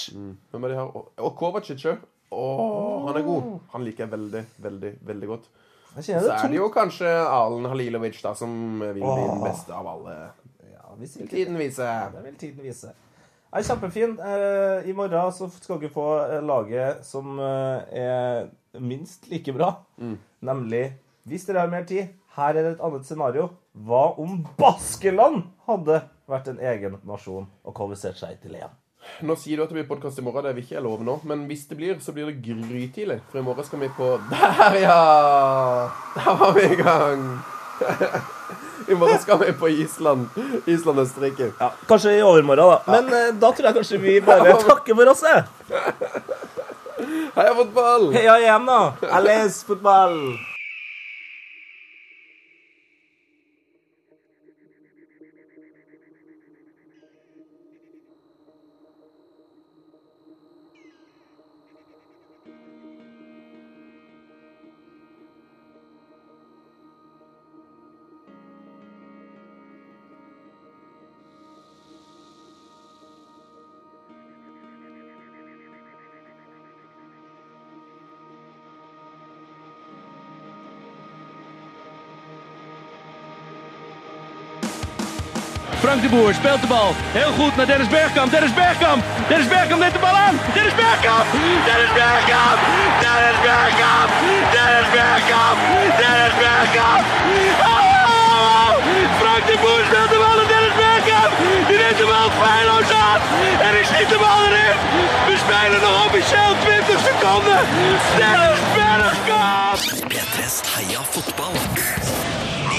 Speaker 4: Hvem er de her? Og, og Kovacic òg. Åh, han er god. Han liker jeg veldig, veldig, veldig godt.
Speaker 3: Jeg kjenner
Speaker 4: Så
Speaker 3: det
Speaker 4: er det
Speaker 3: tungt.
Speaker 4: jo kanskje Alen Halilovic da, som vil bli den
Speaker 3: Åh.
Speaker 4: beste av alle.
Speaker 3: Ja, hvis ikke,
Speaker 4: Tiden viser.
Speaker 3: det vil tiden vise. Ja, kjempefin. Eh, I morgen så skal dere få eh, laget som eh, er minst like bra. Nemlig Hvis dere har mer tid, her er et annet scenario. Hva om Baskeland hadde vært en egen nasjon og kvalifisert seg til EM?
Speaker 4: Nå sier du at det blir podkast i morgen, det vil ikke jeg love nå. Men hvis det blir, så blir det grytidlig. For i morgen skal vi på Der, ja! Der var vi i gang! I morgen skal vi på Island. Island-Østerrike.
Speaker 3: Ja, kanskje i overmorgen, da. Men eh, da tror jeg kanskje vi bare takker for oss, eh. jeg.
Speaker 4: Heia fotball!
Speaker 3: Heia igjen, da! Alles fotball! Frank de Boer speelt de bal. Heel goed naar Dennis Bergkamp. Dennis Bergkamp. Dennis Bergkamp neemt de bal aan. Dennis Bergkamp. Dennis Bergkamp. Dennis Bergkamp. Dennis Bergkamp. Dennis Bergkamp. Oh! Frank de Boer speelt de bal naar Dennis Bergkamp. Die neemt de bal feilloos aan. En hij schiet de bal erin. We spelen nog officieel 20 seconden. Dennis Bergkamp.
Speaker 7: P3s Heia fotball. Ny